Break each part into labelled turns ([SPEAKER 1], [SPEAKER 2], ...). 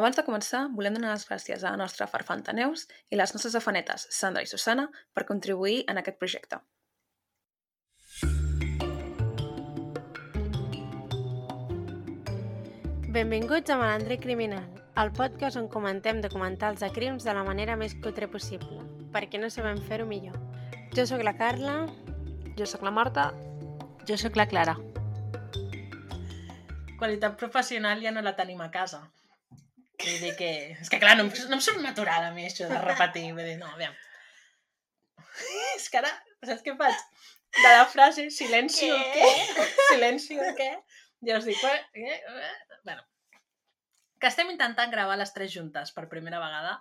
[SPEAKER 1] Abans de començar, volem donar les gràcies a la nostra Farfanta Neus i les nostres afanetes, Sandra i Susana, per contribuir en aquest projecte.
[SPEAKER 2] Benvinguts a Malandre Criminal, el podcast on comentem documentals de crims de la manera més cutre possible, perquè no sabem fer-ho millor. Jo sóc la Carla,
[SPEAKER 3] Jo sóc la Marta.
[SPEAKER 4] Jo sóc la Clara.
[SPEAKER 3] Qualitat professional ja no la tenim a casa. Vull dir que... És que clar, no, em- no em surt natural a mi això de repetir. Vull dir, no, aviam. És que ara, saps què faig? De la frase, silenci o què? Silenci o què? Ja us dic, "Bueno, eh, eh?" bueno. Que estem intentant gravar les tres juntes per primera vegada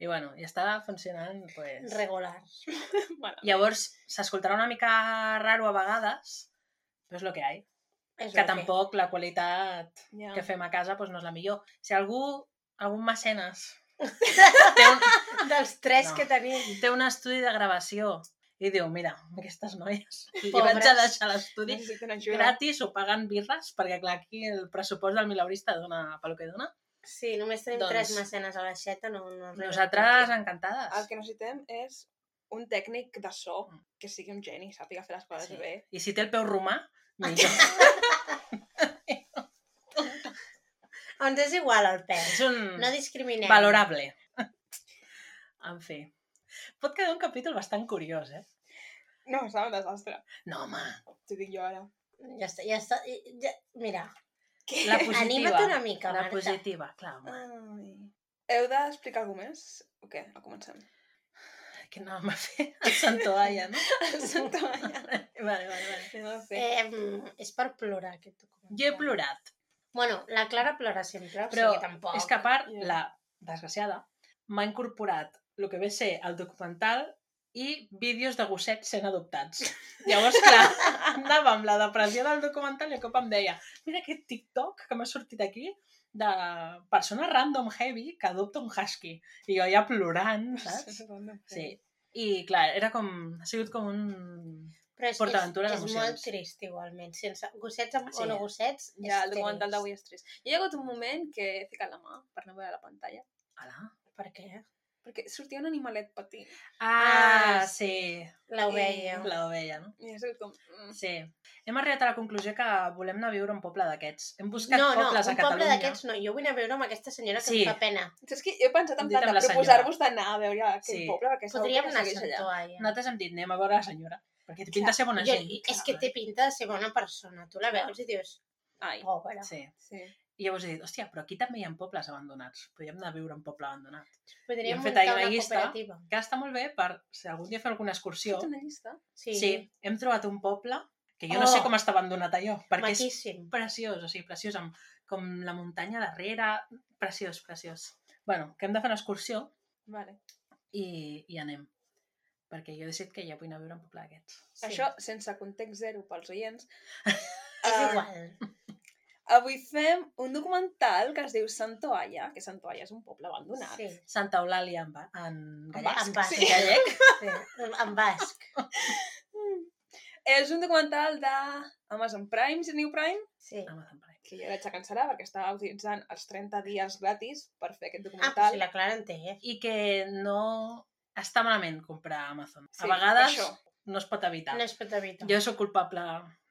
[SPEAKER 3] i bueno, i està funcionant, pues...
[SPEAKER 2] regular.
[SPEAKER 4] Bueno,
[SPEAKER 3] Llavors, s'escoltarà una mica raro a vegades, però és el que hi ha.
[SPEAKER 2] És
[SPEAKER 3] Que tampoc la qualitat
[SPEAKER 4] ja.
[SPEAKER 3] que fem a casa doncs, no és la millor. Si algú, algun mecenes, té un,
[SPEAKER 2] Ah, Dels tres
[SPEAKER 3] No.
[SPEAKER 2] que tenim.
[SPEAKER 3] té un estudi de gravació i diu, mira, aquestes noies, li
[SPEAKER 2] Pobres.
[SPEAKER 3] vaig a deixar l'estudi
[SPEAKER 4] necessiten ajuda.
[SPEAKER 3] gratis o pagant birres, perquè clar, aquí el pressupost del milaurista dona pel que dona.
[SPEAKER 2] Sí, només tenim
[SPEAKER 3] Doncs-
[SPEAKER 2] tres mecenes a la xeta, no... no arriba.
[SPEAKER 3] Nosaltres encantades.
[SPEAKER 4] El que necessitem és un tècnic de so que sigui un geni, sàpiga fer les coses
[SPEAKER 3] Sí.
[SPEAKER 4] bé. Ah,
[SPEAKER 3] I si té el peu romà, millor.
[SPEAKER 2] Ens Doncs és igual el pes.
[SPEAKER 3] És un
[SPEAKER 2] No discriminem.
[SPEAKER 3] Mm. valorable. En fi. Pot quedar un capítol bastant curiós, eh?
[SPEAKER 4] No, serà un desastre.
[SPEAKER 3] No, home,
[SPEAKER 4] T'ho dic jo ara.
[SPEAKER 2] Ja està, ja està. Ja... Mira,
[SPEAKER 3] la positiva.
[SPEAKER 2] anima't una mica,
[SPEAKER 3] La
[SPEAKER 2] Marta.
[SPEAKER 3] positiva, clar, home.
[SPEAKER 4] Ah. Ai. Heu d'explicar alguna més? O què? A comencem.
[SPEAKER 3] que anàvem a fer el Santoalla, no?
[SPEAKER 4] Santa Maria.
[SPEAKER 3] Vale, vale, vale.
[SPEAKER 4] Anem a fer.
[SPEAKER 2] Eh, és per plorar, aquest documental.
[SPEAKER 3] Jo he plorat,
[SPEAKER 2] Bueno, la Clara plora sempre, o
[SPEAKER 3] però
[SPEAKER 2] sigui, tampoc.
[SPEAKER 3] és que a part,
[SPEAKER 4] Ja.
[SPEAKER 3] la desgraciada m'ha incorporat el que ve a ser el documental i vídeos de gossets sent adoptats. Llavors, clar, anava amb la depressió del documental i de cop em deia mira aquest TikTok que m'ha sortit aquí de persona random heavy que adopta un husky. I jo ja plorant, saps? Sí. I clar, era com... Ha sigut com un...
[SPEAKER 2] Però és,
[SPEAKER 3] PortAventura
[SPEAKER 2] és,
[SPEAKER 3] de
[SPEAKER 2] és
[SPEAKER 3] mocions.
[SPEAKER 2] molt trist, igualment. Sense gossets amb,
[SPEAKER 3] Sí.
[SPEAKER 2] o no gossets,
[SPEAKER 4] Ja,
[SPEAKER 2] és
[SPEAKER 4] el documental
[SPEAKER 2] trist.
[SPEAKER 4] d'avui és trist. Jo hi ha hagut un moment que he ficat la mà per no veure la pantalla,
[SPEAKER 3] Hola.
[SPEAKER 2] Per què?
[SPEAKER 4] perquè sortia un animalet petit.
[SPEAKER 3] Ah, sí.
[SPEAKER 2] L'ovella.
[SPEAKER 3] La ovella, no?
[SPEAKER 4] I ha sigut com... Mm.
[SPEAKER 3] Sí. Hem arribat a la conclusió que volem anar a viure a un poble d'aquests. Hem buscat
[SPEAKER 2] No, no,
[SPEAKER 3] pobles a
[SPEAKER 2] un poble
[SPEAKER 3] Catalunya.
[SPEAKER 2] d'aquests no. Jo vull anar a veure amb aquesta senyora que
[SPEAKER 3] Sí.
[SPEAKER 2] em fa pena.
[SPEAKER 4] Saps que he pensat en
[SPEAKER 3] Dit
[SPEAKER 4] plan
[SPEAKER 3] amb
[SPEAKER 4] de
[SPEAKER 3] la senyora.
[SPEAKER 4] proposar-vos d'anar a veure aquell
[SPEAKER 3] Sí.
[SPEAKER 4] poble, perquè segur
[SPEAKER 2] Podríem
[SPEAKER 4] que
[SPEAKER 2] anar
[SPEAKER 4] no
[SPEAKER 2] a
[SPEAKER 4] segueix allà.
[SPEAKER 2] Santualla.
[SPEAKER 3] Nosaltres hem dit, anem a veure la senyora, perquè té pinta de ser bona
[SPEAKER 2] Jo,
[SPEAKER 3] gent.
[SPEAKER 2] és que té pinta de ser bona persona. Tu la
[SPEAKER 4] Clar.
[SPEAKER 2] veus i dius,
[SPEAKER 4] Ai,
[SPEAKER 2] pobra.
[SPEAKER 3] Sí.
[SPEAKER 4] sí.
[SPEAKER 3] I llavors he dit, hòstia, però aquí també hi ha pobles abandonats. Podríem anar a viure a un poble abandonat. i
[SPEAKER 2] Podríem
[SPEAKER 3] hem fet
[SPEAKER 2] muntar
[SPEAKER 3] ahir
[SPEAKER 2] una
[SPEAKER 3] una llista.
[SPEAKER 2] cooperativa.
[SPEAKER 3] Que està molt bé per, si algun dia fer alguna
[SPEAKER 4] Jo...
[SPEAKER 3] excursió.
[SPEAKER 4] Fet una llista?
[SPEAKER 2] Sí,
[SPEAKER 3] Sí, hem trobat un poble que jo no sé
[SPEAKER 2] Oh!
[SPEAKER 3] com està abandonat allò, perquè és
[SPEAKER 2] maquíssim.
[SPEAKER 3] preciós, o sigui, preciós, amb com la muntanya darrere, preciós, preciós. Bueno, que hem de fer una excursió
[SPEAKER 4] Vale.
[SPEAKER 3] i, i anem. Perquè jo he decidit que ja vull anar a viure un poble d'aquests.
[SPEAKER 4] Sí. Això, sense context zero pels oients.
[SPEAKER 3] Ah,
[SPEAKER 2] És
[SPEAKER 4] Eh,
[SPEAKER 2] igual.
[SPEAKER 4] Avui fem un documental que es diu Santoalla, que Santoalla és un poble abandonat.
[SPEAKER 2] Sí.
[SPEAKER 3] Santa Eulàlia en, ba- en gallec.
[SPEAKER 2] En basc.
[SPEAKER 3] Sí, gallec.
[SPEAKER 2] Sí. En basc.
[SPEAKER 4] És un documental de Amazon Prime, si teniu Prime,
[SPEAKER 2] Sí.
[SPEAKER 3] Amazon Prime.
[SPEAKER 4] que ja l'aixecançarà perquè estava utilitzant els 30 dies gratis per fer aquest
[SPEAKER 2] Ah, però si
[SPEAKER 4] documental.
[SPEAKER 2] la Clara en té, eh?
[SPEAKER 3] I que no està malament comprar a Amazon.
[SPEAKER 4] Sí,
[SPEAKER 3] a vegades
[SPEAKER 4] això.
[SPEAKER 3] no es pot evitar.
[SPEAKER 2] No es pot evitar.
[SPEAKER 3] Jo sóc culpable,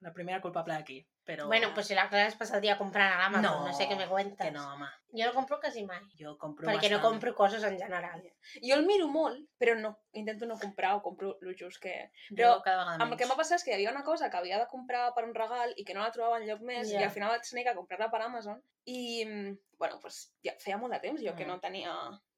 [SPEAKER 3] la primera culpable aquí, però
[SPEAKER 2] Bueno, pues si la Clara es passa el día comprant a l'Amazon, no,
[SPEAKER 3] No,
[SPEAKER 2] no sé què me cuentas.
[SPEAKER 3] que no, home.
[SPEAKER 2] Jo no compro quasi mai,
[SPEAKER 3] Jo compro
[SPEAKER 2] perquè no
[SPEAKER 3] bastant.
[SPEAKER 2] compro coses en general.
[SPEAKER 4] Jo el miro molt, però no, intento no comprar o compro el just que...
[SPEAKER 3] Però
[SPEAKER 4] però
[SPEAKER 3] cada vegada
[SPEAKER 4] Amb el que
[SPEAKER 3] menys.
[SPEAKER 4] m'ha passat és que hi havia una cosa que havia de comprar per un regal i que no la trobava enlloc més
[SPEAKER 2] Ja.
[SPEAKER 4] i al final vaig tenir que comprar-la per Amazon i, mm, bueno, pues, ja feia molt de temps jo que
[SPEAKER 3] Mm.
[SPEAKER 4] no tenia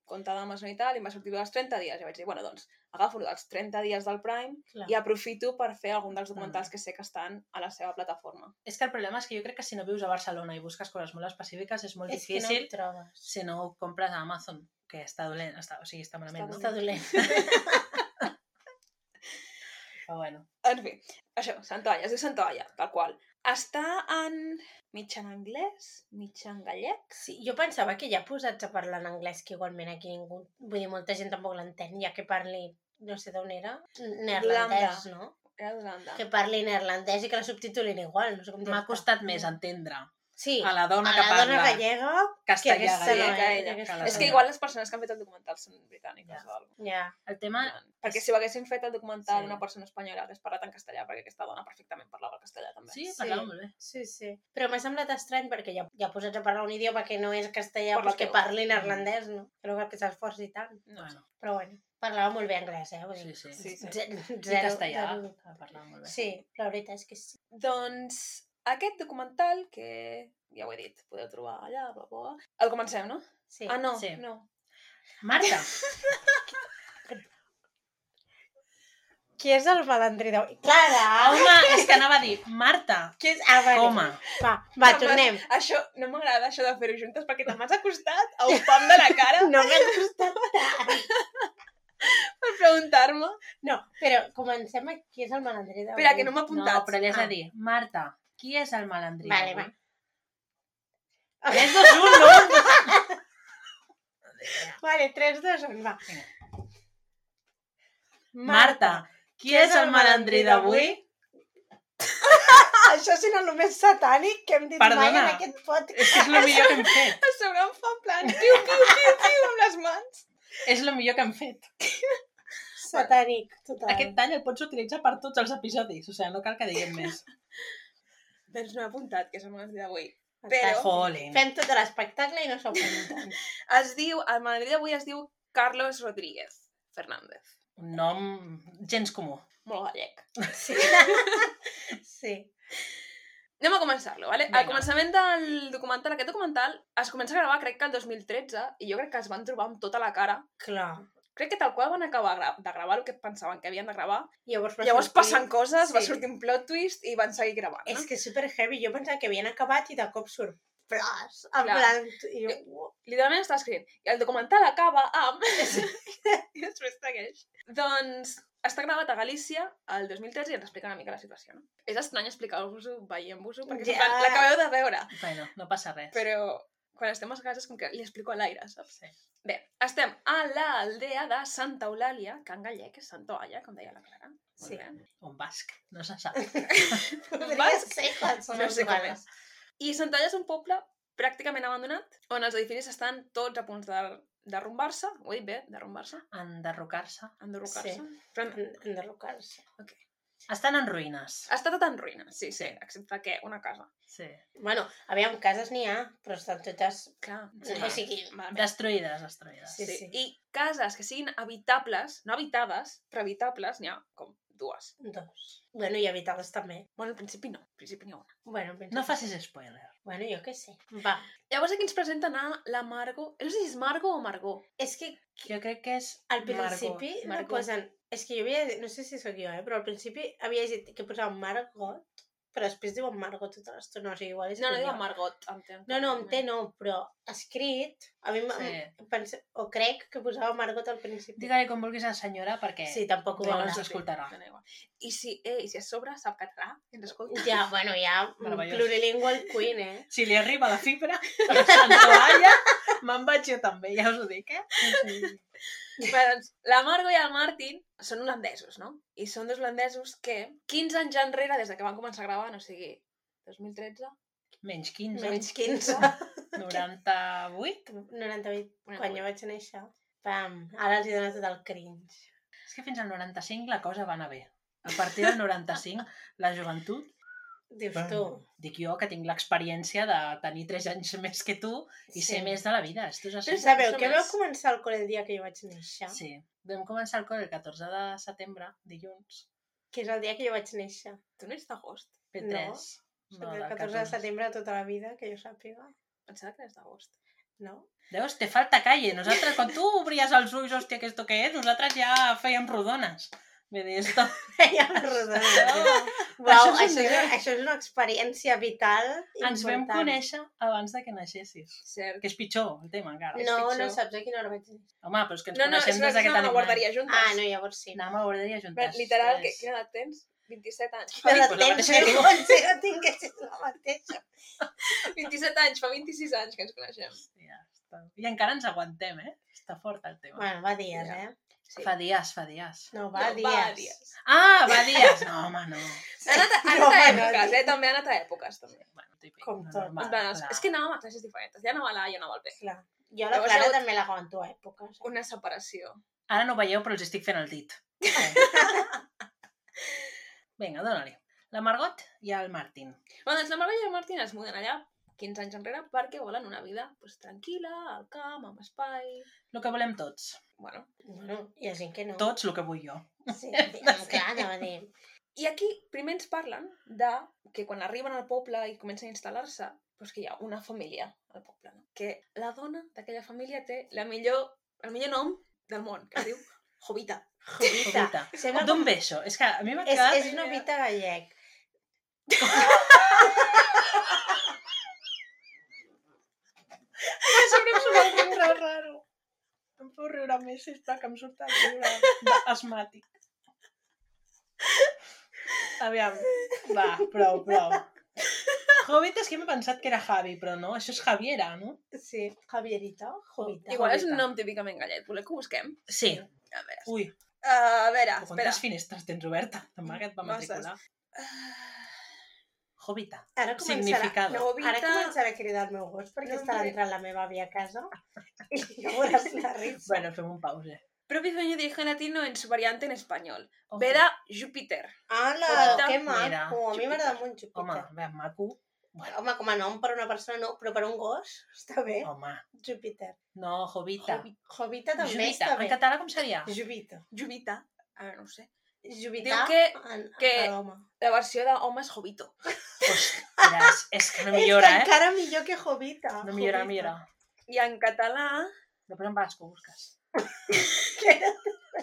[SPEAKER 4] compte d'Amazon i tal i em va sortir dels 30 dies i vaig dir, bueno, doncs agafo lo dels 30 dies del Prime
[SPEAKER 2] Clar.
[SPEAKER 4] i aprofito per fer algun dels documentals
[SPEAKER 3] Mm.
[SPEAKER 4] que sé que estan a la seva plataforma.
[SPEAKER 3] És que el problema és que jo crec que si no vius a Barcelona i busques coses molt específiques és molt
[SPEAKER 2] És que no
[SPEAKER 3] difícil
[SPEAKER 2] ho trobes.
[SPEAKER 3] si no ho compres a Amazon, que està dolent, està, o sigui, està malament,
[SPEAKER 4] Està
[SPEAKER 3] no?
[SPEAKER 2] Està dolent.
[SPEAKER 3] Però bueno.
[SPEAKER 4] En fi, això, Santoalla, es diu Santoalla, tal qual. Està en mig en anglès, mig en gallec.
[SPEAKER 2] Sí, jo pensava que ja posats a parlar en anglès, que igualment aquí ningú... Vull dir, molta gent tampoc l'entén, ja que parli no sé d'on era, neerlandès, no?
[SPEAKER 4] Era d'Holanda.
[SPEAKER 2] Que parli neerlandès i que la subtitulin igual, no sé com dir
[SPEAKER 3] M'ha costat més entendre
[SPEAKER 2] Sí,
[SPEAKER 3] a la dona
[SPEAKER 2] a
[SPEAKER 3] que
[SPEAKER 2] la
[SPEAKER 3] parla
[SPEAKER 2] dona gallega...
[SPEAKER 3] castellà
[SPEAKER 2] que aquesta
[SPEAKER 3] gallec.
[SPEAKER 2] no
[SPEAKER 4] gallega,
[SPEAKER 2] és,
[SPEAKER 4] ella.
[SPEAKER 2] aquesta
[SPEAKER 3] És
[SPEAKER 2] no
[SPEAKER 4] És que
[SPEAKER 3] Catalunya.
[SPEAKER 4] igual les persones que han fet el documental són britàniques
[SPEAKER 3] Ja.
[SPEAKER 4] o alguna
[SPEAKER 2] Ja.
[SPEAKER 3] El tema...
[SPEAKER 4] Perquè si ho haguessin fet el documental
[SPEAKER 3] Sí.
[SPEAKER 4] una persona espanyola hagués parlat en castellà, perquè aquesta dona perfectament parlava el castellà també.
[SPEAKER 3] Sí,
[SPEAKER 2] Sí.
[SPEAKER 3] parlava molt bé.
[SPEAKER 2] Sí, sí. Però m'ha semblat estrany perquè ja, ja posats a parlar un idioma que no és castellà,
[SPEAKER 4] Parla
[SPEAKER 2] doncs que
[SPEAKER 3] Mm.
[SPEAKER 4] teu.
[SPEAKER 2] parlin irlandès, no? Que no cal que s'esforci tant.
[SPEAKER 4] No,
[SPEAKER 3] Bueno,
[SPEAKER 2] Però bueno, parlava molt bé anglès, eh? Vull
[SPEAKER 3] sí,
[SPEAKER 2] dir,
[SPEAKER 3] sí.
[SPEAKER 4] Sí, sí.
[SPEAKER 2] ze-
[SPEAKER 3] I
[SPEAKER 2] zero-
[SPEAKER 3] castellà,
[SPEAKER 2] zero-
[SPEAKER 3] parlava molt bé.
[SPEAKER 2] Sí, la veritat és que sí.
[SPEAKER 4] Doncs aquest documental, que ja ho he dit, podeu trobar allà, bla, bla, bla. El comencem, no?
[SPEAKER 2] sí.
[SPEAKER 4] ah, no,
[SPEAKER 3] Sí.
[SPEAKER 4] no.
[SPEAKER 3] Marta,
[SPEAKER 2] Qui és el balandrí d'avui? Clara!
[SPEAKER 3] home, és que anava a dir, Marta,
[SPEAKER 2] Qui és... Ah, vale.
[SPEAKER 3] coma.
[SPEAKER 2] Va, va,
[SPEAKER 4] Te'n vas-
[SPEAKER 2] tornem.
[SPEAKER 4] Això, no m'agrada això de fer-ho juntes perquè te m'has acostat a un pam de la cara
[SPEAKER 2] No m'ha costat tant.
[SPEAKER 4] per preguntar-me.
[SPEAKER 2] No, però comencem a qui és el malandrí d'avui.
[SPEAKER 4] Espera, que no m'ha
[SPEAKER 3] No,
[SPEAKER 4] apuntat.
[SPEAKER 3] però ja és a
[SPEAKER 2] Ah.
[SPEAKER 3] dir, Marta, qui és el malandrí?
[SPEAKER 2] Vale,
[SPEAKER 3] d'avui?
[SPEAKER 2] va.
[SPEAKER 3] És dos un, no?
[SPEAKER 2] Vale, 3, 2, 1, va.
[SPEAKER 3] Vinga. Marta, qui és el malandrí d'avui?
[SPEAKER 2] Això serà el més satànic que hem dit mai
[SPEAKER 3] Perdona.
[SPEAKER 2] en aquest podcast.
[SPEAKER 3] És que és el millor que hem fet.
[SPEAKER 4] A sobre em fa en plan, piu, piu, piu, piu, amb les mans.
[SPEAKER 3] És el millor que hem fet.
[SPEAKER 2] Satànic, total.
[SPEAKER 3] Aquest tall el pots utilitzar per tots els episodis, o sigui, no cal que diguem més.
[SPEAKER 4] Doncs no he apuntat, que és el malandrí d'avui.
[SPEAKER 2] Però-
[SPEAKER 3] Jolín.
[SPEAKER 2] Fem tot l'espectacle i no s'ho apunten.
[SPEAKER 4] Es diu, el malandrí d'avui es diu Carlos Rodríguez Fernández.
[SPEAKER 3] Un nom gens comú.
[SPEAKER 4] Molt gallec.
[SPEAKER 2] Sí. sí.
[SPEAKER 4] Anem a començar-lo, vale?
[SPEAKER 3] Vinga.
[SPEAKER 4] Al començament del documental, aquest documental es comença a gravar crec que el 2013 i jo crec que es van trobar amb tota la cara.
[SPEAKER 2] Clar.
[SPEAKER 4] Crec que tal qual van acabar gra- de gravar el que pensaven que havien de gravar.
[SPEAKER 2] Llavors, va
[SPEAKER 4] Llavors
[SPEAKER 2] sortir-
[SPEAKER 4] passen coses, va
[SPEAKER 2] sí.
[SPEAKER 4] sortir un plot twist i van seguir gravant, no?
[SPEAKER 2] És que és super heavy. Jo pensava que havien acabat i de cop surt flash. En
[SPEAKER 4] Clar.
[SPEAKER 2] plan... I jo, "Uah".
[SPEAKER 4] literalment està escrivint. I el documental acaba amb... I després segueix. Doncs està gravat a Galícia el 2013 i ens explica una mica la situació, no? És estrany explicar-vos-ho veient-vos-ho, perquè
[SPEAKER 2] Ja.
[SPEAKER 4] ja. l'acabeu de veure,
[SPEAKER 3] Bueno, no passa res.
[SPEAKER 4] però quan estem a casa és com que li explico a l'aire, saps?
[SPEAKER 3] Sí.
[SPEAKER 4] Bé, estem a la aldea de Santa Eulàlia, que en gallec és Santa Olla, com deia la Clara. Molt
[SPEAKER 2] Sí.
[SPEAKER 4] bé.
[SPEAKER 3] Un basc, no se sap.
[SPEAKER 2] Podria
[SPEAKER 4] Vas-
[SPEAKER 2] ser qualsevol
[SPEAKER 4] No sé com
[SPEAKER 2] cosa.
[SPEAKER 4] és. I Santa Olla és un poble pràcticament abandonat, on els edificis estan tots a punts de derrumbar-se, ho he dit bé, derrumbar-se,
[SPEAKER 3] Enderrocar-se.
[SPEAKER 4] enderrocar-se.
[SPEAKER 2] Sí.
[SPEAKER 4] Sí. Però
[SPEAKER 2] En- Enderrocar-se.
[SPEAKER 3] Estan en ruïnes.
[SPEAKER 4] Està tot en ruïnes, sí, sí, excepte que una casa.
[SPEAKER 3] Sí.
[SPEAKER 2] Bueno, aviam, cases n'hi ha, però estan totes...
[SPEAKER 4] Clar.
[SPEAKER 2] Sí. O sigui,
[SPEAKER 4] malament.
[SPEAKER 3] Destruïdes, destruïdes.
[SPEAKER 4] Sí,
[SPEAKER 2] Sí,
[SPEAKER 4] sí.
[SPEAKER 2] sí.
[SPEAKER 4] I cases que siguin habitables, no habitades, però habitables, n'hi ha com dues.
[SPEAKER 2] dos. Bueno, i habitades també.
[SPEAKER 4] Bueno, al principi no, al principi n'hi ha una.
[SPEAKER 2] Bueno, penso
[SPEAKER 3] No
[SPEAKER 2] que-
[SPEAKER 3] facis spoiler.
[SPEAKER 2] Bueno, jo què sé. Va.
[SPEAKER 4] Llavors aquí ens presenten a la Margo. No sé si és Margo o Margó.
[SPEAKER 2] És que
[SPEAKER 3] Jo crec que és
[SPEAKER 2] Al
[SPEAKER 3] Margot.
[SPEAKER 2] principi Margot,
[SPEAKER 4] Margot.
[SPEAKER 2] posen... És que jo havia... No sé si sóc jo, eh? Però al principi havia llegit que posava Margot, però després diuen Margot tota l'estona. O sigui, igual és
[SPEAKER 4] No, no,
[SPEAKER 2] que
[SPEAKER 4] diu
[SPEAKER 2] jo.
[SPEAKER 4] Margot, em té.
[SPEAKER 2] No, no, amb T no, però escrit... A mi sí.
[SPEAKER 3] Sí.
[SPEAKER 2] penso, o crec que posava Margot al principi.
[SPEAKER 3] Digue-li com vulguis a la senyora perquè...
[SPEAKER 2] Sí, tampoc ho
[SPEAKER 3] no
[SPEAKER 2] veurà.
[SPEAKER 3] ens escoltarà.
[SPEAKER 4] dona igual. I si, eh, i si a sobre sap català, ens escolta.
[SPEAKER 2] Ja, bueno, ja,
[SPEAKER 3] Meravellós.
[SPEAKER 2] plurilingual queen, eh?
[SPEAKER 3] Si li arriba la fibra, la santoalla, me'n vaig jo també, ja us ho dic, eh?
[SPEAKER 4] Bé, doncs, la Margo i el Martin són holandesos, no? I són dos holandesos que 15 anys ja enrere, des de que van començar a gravar, no sigui 2013,
[SPEAKER 3] Menys 15,
[SPEAKER 2] Menys
[SPEAKER 3] Menys
[SPEAKER 2] 15.
[SPEAKER 3] 98.
[SPEAKER 2] 98, quan
[SPEAKER 4] 98.
[SPEAKER 2] jo vaig néixer. Pam, ara els hi dona tot el cringe.
[SPEAKER 3] És que fins al 95 la cosa va anar bé. A partir del 95, la joventut...
[SPEAKER 2] Dius tu.
[SPEAKER 3] Dic jo que tinc l'experiència de tenir 3 anys més que tu i ser més de la vida. Esto és així.
[SPEAKER 2] Però sabeu
[SPEAKER 4] Som
[SPEAKER 2] que
[SPEAKER 4] els-
[SPEAKER 2] vau començar el col·le el dia que jo vaig néixer?
[SPEAKER 3] Sí. Vam començar el col el 14 de setembre, dilluns,
[SPEAKER 2] Que és el dia que jo vaig néixer.
[SPEAKER 4] tu no ets d'agost?
[SPEAKER 3] P3.
[SPEAKER 2] Soc del 14 de setembre de tota la vida, que jo sàpiga.
[SPEAKER 4] Pensava que eres d'agost.
[SPEAKER 2] No?
[SPEAKER 3] Veus, te falta calle. Nosaltres, quan tu obries els ulls, hòstia, que esto què és? Nosaltres ja fèiem rodones. Vull dir, esto...
[SPEAKER 2] Ja em rodona.
[SPEAKER 3] Això-
[SPEAKER 2] Uau, això,
[SPEAKER 3] això és un
[SPEAKER 2] és,
[SPEAKER 3] nivell.
[SPEAKER 2] això és una experiència vital important.
[SPEAKER 3] Ens vam conèixer abans de que naixessis.
[SPEAKER 4] Cert.
[SPEAKER 3] Que és pitjor, el tema, encara.
[SPEAKER 2] No,
[SPEAKER 4] pitjor.
[SPEAKER 2] no saps a quina hora vaig néixer.
[SPEAKER 3] Home, però és que ens
[SPEAKER 4] No, no, és
[SPEAKER 3] coneixem
[SPEAKER 4] una,
[SPEAKER 3] des de
[SPEAKER 4] és
[SPEAKER 3] que
[SPEAKER 4] una, una
[SPEAKER 3] tenim anys.
[SPEAKER 4] guarderia juntes.
[SPEAKER 2] Ah, no, llavors sí.
[SPEAKER 3] Anàvem a guarderia
[SPEAKER 4] Però,
[SPEAKER 3] juntes.
[SPEAKER 4] literal, que,
[SPEAKER 3] tres.
[SPEAKER 4] quina edat tens? 27 anys.
[SPEAKER 2] Però
[SPEAKER 3] Ai,
[SPEAKER 2] la
[SPEAKER 3] pues la
[SPEAKER 2] tens
[SPEAKER 3] mateixa que
[SPEAKER 2] que
[SPEAKER 3] tinc.
[SPEAKER 2] potser no tinguessis la mateixa.
[SPEAKER 4] 27 anys, fa 26 anys que ens coneixem.
[SPEAKER 3] Hòstia, està... I encara ens aguantem, eh? Està fort el tema.
[SPEAKER 2] Bueno, va dies,
[SPEAKER 4] Ja.
[SPEAKER 2] eh?
[SPEAKER 4] Sí.
[SPEAKER 3] Fa dies, fa dies.
[SPEAKER 2] No,
[SPEAKER 4] No,
[SPEAKER 2] va,
[SPEAKER 4] va,
[SPEAKER 2] dies.
[SPEAKER 4] dies.
[SPEAKER 3] Ah, va dies! No, home, no.
[SPEAKER 4] Han anat, han
[SPEAKER 2] No, bueno, sí.
[SPEAKER 4] anat a èpoques, eh? També han anat a èpoques, també.
[SPEAKER 3] Bueno, típic,
[SPEAKER 2] Com
[SPEAKER 3] no,
[SPEAKER 2] tot.
[SPEAKER 3] normal,
[SPEAKER 4] en plan, els-
[SPEAKER 3] clar.
[SPEAKER 4] és que anàvem a classes diferents. Ja anava a l'A i anava al B.
[SPEAKER 2] eh? Clar. Jo la
[SPEAKER 4] Llavors,
[SPEAKER 2] Clara
[SPEAKER 4] llavors-
[SPEAKER 2] també la aguanto a èpoques. eh?
[SPEAKER 4] Una separació.
[SPEAKER 3] Ara no ho veieu, però els estic fent el dit. Vinga, dóna-li. La Margot i el Martin.
[SPEAKER 4] Bueno, doncs la Margot i el Martín es muden allà 15 anys enrere perquè volen una vida pues, tranquil·la, al camp, amb espai...
[SPEAKER 3] El que volem tots.
[SPEAKER 4] Bueno,
[SPEAKER 2] Bueno, hi ha gent que no.
[SPEAKER 3] Tots el que vull jo.
[SPEAKER 2] Sí, amb clar, anava a dir...
[SPEAKER 4] I aquí primer ens parlen de que quan arriben al poble i comencen a instal·lar-se, doncs que hi ha una família al poble, no? Que la dona d'aquella família té la millor, el millor nom del món, que es diu Jovita.
[SPEAKER 2] Jovita.
[SPEAKER 3] Jovita.
[SPEAKER 2] Sembla
[SPEAKER 3] D'on ve això? És que a mi m'ha
[SPEAKER 2] És,
[SPEAKER 3] quedat...
[SPEAKER 2] és una pita gallec.
[SPEAKER 3] Sempre em surt algun riure raro. Em puc riure més si està que em surt el riure asmàtic. Aviam, va, prou, prou. Hobbit és que m'he pensat que era Javi, però no, això és Javiera, no?
[SPEAKER 2] Sí, Javierita, Jovita.
[SPEAKER 4] Igual és un
[SPEAKER 3] Jovita.
[SPEAKER 4] nom típicament gallet. Voleu que ho busquem?
[SPEAKER 3] Sí.
[SPEAKER 4] A veure,
[SPEAKER 3] Ui,
[SPEAKER 4] Eh, a
[SPEAKER 3] Però
[SPEAKER 4] veure espera.
[SPEAKER 3] Quantes finestres tens oberta? La mà que et va
[SPEAKER 4] Masses.
[SPEAKER 3] matricular. Jovita.
[SPEAKER 2] Ara començarà,
[SPEAKER 3] Significado.
[SPEAKER 4] Jovita-
[SPEAKER 2] ara començarà a cridar el meu gos perquè
[SPEAKER 4] No em
[SPEAKER 2] estarà
[SPEAKER 4] diré.
[SPEAKER 2] entrant la meva àvia a casa i ja veuràs la risa.
[SPEAKER 3] Bueno, fem un pause.
[SPEAKER 4] Propio sueño de origen latino en su variante en español.
[SPEAKER 3] Ojo.
[SPEAKER 4] Vera Júpiter.
[SPEAKER 2] Ala,
[SPEAKER 4] Jovita,
[SPEAKER 2] que
[SPEAKER 3] mira,
[SPEAKER 2] maco. A mi m'agrada molt Jupiter.
[SPEAKER 3] Home, bé, maco. Bueno,
[SPEAKER 2] Home, com a nom per una persona no, però per un gos està bé.
[SPEAKER 3] home.
[SPEAKER 2] Júpiter.
[SPEAKER 3] No, Oh. Jovita.
[SPEAKER 2] Jovita també
[SPEAKER 3] Jovita.
[SPEAKER 2] està
[SPEAKER 3] En
[SPEAKER 2] bé.
[SPEAKER 3] català com seria?
[SPEAKER 2] Jovita.
[SPEAKER 4] Júpita. A veure, no ho sé.
[SPEAKER 2] Jovita
[SPEAKER 4] Diu que-
[SPEAKER 2] en,
[SPEAKER 4] que-
[SPEAKER 2] per home.
[SPEAKER 4] La versió d'home és Jovito.
[SPEAKER 3] Ostres, és que no
[SPEAKER 2] És
[SPEAKER 3] millora,
[SPEAKER 2] que
[SPEAKER 3] eh?
[SPEAKER 2] encara millor que Jovita.
[SPEAKER 3] No
[SPEAKER 2] Jovita.
[SPEAKER 3] millora, no millora.
[SPEAKER 4] I en català...
[SPEAKER 3] Després em vas, que ho busques.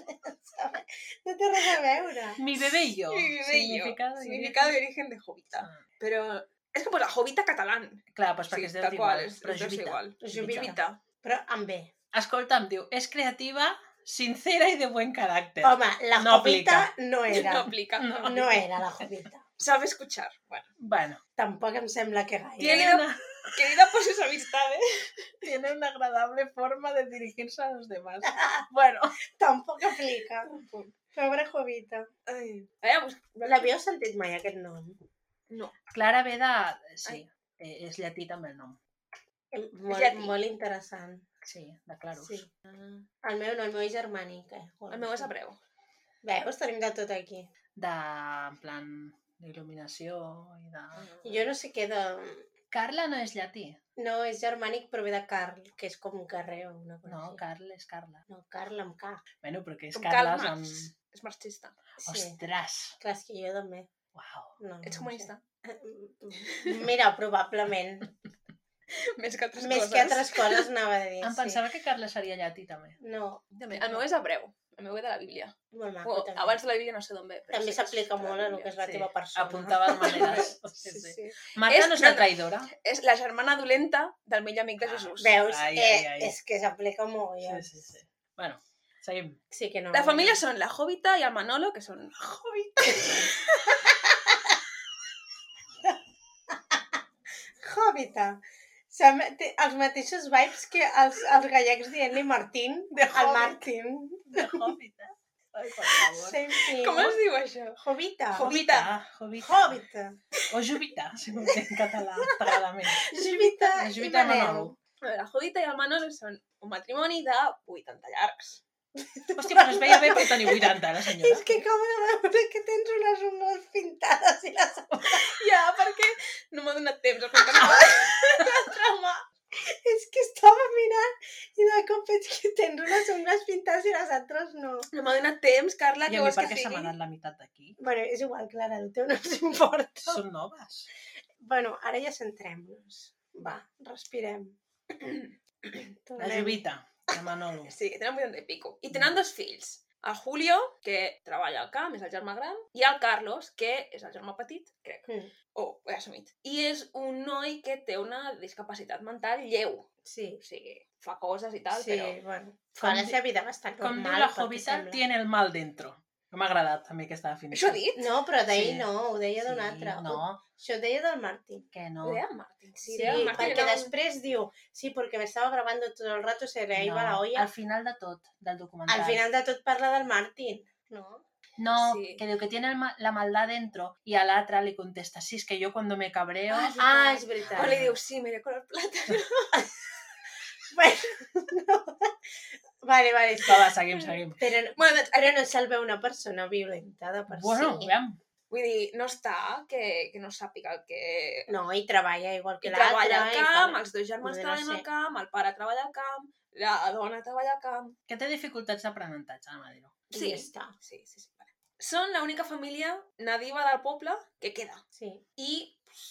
[SPEAKER 2] No té res a veure.
[SPEAKER 3] Mi bebé i jo.
[SPEAKER 4] Mi bebé i jo.
[SPEAKER 3] Oh, Significado. i-
[SPEAKER 4] Significado de origen de Jovita.
[SPEAKER 3] Ah,
[SPEAKER 4] Però és que posa Jovita catalán.
[SPEAKER 3] Clar, doncs perquè
[SPEAKER 4] Sí,
[SPEAKER 3] es deu
[SPEAKER 4] tal
[SPEAKER 3] dir
[SPEAKER 4] qual,
[SPEAKER 3] igual.
[SPEAKER 4] és,
[SPEAKER 3] Però
[SPEAKER 4] es deu ser
[SPEAKER 3] Jovita.
[SPEAKER 4] igual.
[SPEAKER 2] Jovita.
[SPEAKER 4] Jovita.
[SPEAKER 2] Però amb bé.
[SPEAKER 3] Escolta, em diu, és creativa, sincera i de buen caràcter.
[SPEAKER 2] Home, la
[SPEAKER 3] No
[SPEAKER 2] Jovita no era.
[SPEAKER 4] No aplica.
[SPEAKER 3] No.
[SPEAKER 2] No era la Jovita.
[SPEAKER 4] Sabe escuchar. Bueno.
[SPEAKER 3] Bueno.
[SPEAKER 2] Tampoc em sembla que gaire. eh?
[SPEAKER 4] Tiene una- Querida por sus amistades.
[SPEAKER 3] tiene una agradable forma de dirigirse a los demás. Bueno,
[SPEAKER 2] Tampoc aplica. Pobra Jovita.
[SPEAKER 4] Ai. A veure, bus-
[SPEAKER 2] L'havíeu sentit mai, aquest nom?
[SPEAKER 4] No.
[SPEAKER 3] Clara Veda, sí, eh, és llatí també el nom.
[SPEAKER 2] Molt,
[SPEAKER 4] Llatí.
[SPEAKER 2] molt interessant.
[SPEAKER 3] Sí, de Clarus.
[SPEAKER 2] Sí. El meu no, el meu és germànic. Eh?
[SPEAKER 4] El meu és hebreu.
[SPEAKER 2] Veus, tenim de tot aquí.
[SPEAKER 3] De, en plan, d'il·luminació i de...
[SPEAKER 2] Jo no sé què de...
[SPEAKER 3] Carla no és llatí.
[SPEAKER 2] No, és germànic, però ve de Carl, que és com un carrer o una cosa
[SPEAKER 3] No,
[SPEAKER 2] així.
[SPEAKER 3] Carl és Carla.
[SPEAKER 2] No, Carl amb K.
[SPEAKER 3] Bueno, però que és
[SPEAKER 4] Com
[SPEAKER 3] Carla
[SPEAKER 4] Karl
[SPEAKER 3] amb...
[SPEAKER 4] Marx. És marxista.
[SPEAKER 2] Sí.
[SPEAKER 3] Ostres!
[SPEAKER 2] Clar, és que jo també.
[SPEAKER 3] Uau!
[SPEAKER 2] No,
[SPEAKER 4] Ets
[SPEAKER 2] no
[SPEAKER 4] comunista.
[SPEAKER 2] sé. Mira, probablement.
[SPEAKER 4] Més que altres
[SPEAKER 2] Més
[SPEAKER 4] coses.
[SPEAKER 2] que altres coses anava a dir.
[SPEAKER 3] Em pensava que Carla seria llatí també.
[SPEAKER 2] No,
[SPEAKER 4] També. El meu és hebreu. El meu ve de la Bíblia.
[SPEAKER 2] molt maco.
[SPEAKER 4] O,
[SPEAKER 2] també.
[SPEAKER 4] abans de la Bíblia no sé d'on ve.
[SPEAKER 2] també s'aplica molt a lo que és la
[SPEAKER 3] Sí,
[SPEAKER 2] teva persona.
[SPEAKER 3] Apuntava de maneres. Sí, sí. Marta
[SPEAKER 4] És-
[SPEAKER 3] no és una
[SPEAKER 4] no, no.
[SPEAKER 3] traïdora.
[SPEAKER 4] És la germana dolenta del millor amic de Jesús.
[SPEAKER 2] Veus?
[SPEAKER 3] Ai,
[SPEAKER 2] eh,
[SPEAKER 3] ai, ai.
[SPEAKER 2] És que s'aplica molt.
[SPEAKER 3] Sí,
[SPEAKER 2] Ja.
[SPEAKER 3] sí, sí. Bueno, seguim.
[SPEAKER 2] sí que no.
[SPEAKER 4] La família són la Jovita i el Manolo, que són...
[SPEAKER 2] Hobbita. Sem té els mateixos vibes que els, els gallecs dient-li Martín,
[SPEAKER 3] De
[SPEAKER 2] al
[SPEAKER 3] Hobbit.
[SPEAKER 2] Martín.
[SPEAKER 3] De Hobbit, eh? Ai, per favor.
[SPEAKER 2] Same thing.
[SPEAKER 4] Com es diu això?
[SPEAKER 2] Hobbita.
[SPEAKER 4] Jovita.
[SPEAKER 3] Jovita.
[SPEAKER 2] Hobbita.
[SPEAKER 3] O Jovita, si ho entenc en català, t'agrada més.
[SPEAKER 2] Jubita
[SPEAKER 3] La
[SPEAKER 2] i
[SPEAKER 3] Jovita
[SPEAKER 2] Manel.
[SPEAKER 3] Manolo.
[SPEAKER 4] Bueno, La Jovita i el Manolo són un matrimoni de 80 llargs.
[SPEAKER 3] Hòstia, però es veia bé per tenir 80, la senyora.
[SPEAKER 2] És que acabo de veure que tens unes ungles pintades i les
[SPEAKER 4] Ja, perquè no m'ha donat temps a fer
[SPEAKER 2] Home, és que estava mirant i de cop veig que tens unes ungles pintades i les altres no.
[SPEAKER 4] No m'ha donat temps, Carla,
[SPEAKER 3] I
[SPEAKER 4] que
[SPEAKER 3] a mi
[SPEAKER 4] vols
[SPEAKER 3] per
[SPEAKER 4] que
[SPEAKER 3] què se m'ha
[SPEAKER 4] sigui?
[SPEAKER 3] anat la meitat d'aquí?
[SPEAKER 2] Bueno, és igual, Clara, el teu no s'importa.
[SPEAKER 3] Són noves.
[SPEAKER 2] Bueno, ara ja centrem-nos. Va, respirem.
[SPEAKER 3] La
[SPEAKER 2] Tornem.
[SPEAKER 3] Jovita, de Manolo.
[SPEAKER 4] Sí, tenen 80 i pico. I tenen dos fills. El Julio, que treballa al camp, és el germà gran, i el Carlos, que és el germà petit, crec,
[SPEAKER 2] Mm,
[SPEAKER 4] o oh, he assumit. I és un noi que té una discapacitat mental lleu.
[SPEAKER 2] Sí,
[SPEAKER 4] O sigui, fa coses i tal,
[SPEAKER 2] sí,
[SPEAKER 4] però...
[SPEAKER 2] bueno. Fa la
[SPEAKER 3] di-
[SPEAKER 2] seva vida bastant
[SPEAKER 3] Com diu
[SPEAKER 2] normal,
[SPEAKER 3] la
[SPEAKER 2] pel que
[SPEAKER 3] Jovita,
[SPEAKER 2] sembla.
[SPEAKER 3] tiene el mal dentro. No m'ha agradat també aquesta
[SPEAKER 4] Això
[SPEAKER 3] definició.
[SPEAKER 4] ha dit?
[SPEAKER 2] No, però d'ahir
[SPEAKER 3] Sí.
[SPEAKER 2] no, ho deia d'un
[SPEAKER 3] Sí,
[SPEAKER 2] altre.
[SPEAKER 3] No,
[SPEAKER 2] Això ho deia del Martín.
[SPEAKER 3] que no.
[SPEAKER 4] Ho deia el Martín.
[SPEAKER 2] Sí,
[SPEAKER 4] deia el Martín,
[SPEAKER 2] perquè
[SPEAKER 4] era un-
[SPEAKER 2] després diu, sí, perquè me estava grabando todo el rato, se le iba
[SPEAKER 3] no.
[SPEAKER 2] la olla.
[SPEAKER 3] Al final de tot, del documental.
[SPEAKER 2] Al final de tot parla del Martín, no?
[SPEAKER 3] No,
[SPEAKER 4] Sí.
[SPEAKER 3] que diu que tiene el ma- la maldad dentro y al altra le contesta, sí, es que yo cuando me cabreo...
[SPEAKER 4] Ah, sí.
[SPEAKER 2] Ah, és
[SPEAKER 4] O
[SPEAKER 2] veritat.
[SPEAKER 4] li diu, sí, mira, color plata.
[SPEAKER 2] Vale, vale.
[SPEAKER 3] Va, va, seguim, seguim.
[SPEAKER 2] Però,
[SPEAKER 4] Bueno, doncs,
[SPEAKER 2] ara no salva una persona violentada per
[SPEAKER 3] Bueno,
[SPEAKER 2] si.
[SPEAKER 3] veiem.
[SPEAKER 4] vull dir, no està que, que no sàpiga el que...
[SPEAKER 2] No, i treballa igual que
[SPEAKER 4] I
[SPEAKER 2] l'altra.
[SPEAKER 4] treballa
[SPEAKER 2] i
[SPEAKER 4] al camp,
[SPEAKER 2] fa-
[SPEAKER 4] els dos germans
[SPEAKER 2] Poder no
[SPEAKER 4] treballen al
[SPEAKER 2] sé.
[SPEAKER 4] camp, el pare treballa al camp, la dona treballa al camp.
[SPEAKER 3] Que té dificultats d'aprenentatge, anem a dir-ho.
[SPEAKER 2] I
[SPEAKER 4] Sí.
[SPEAKER 2] ja està.
[SPEAKER 4] Sí, sí, sí. Vale. Són l'única família nadiva del poble que queda.
[SPEAKER 2] Sí.
[SPEAKER 4] I, pues,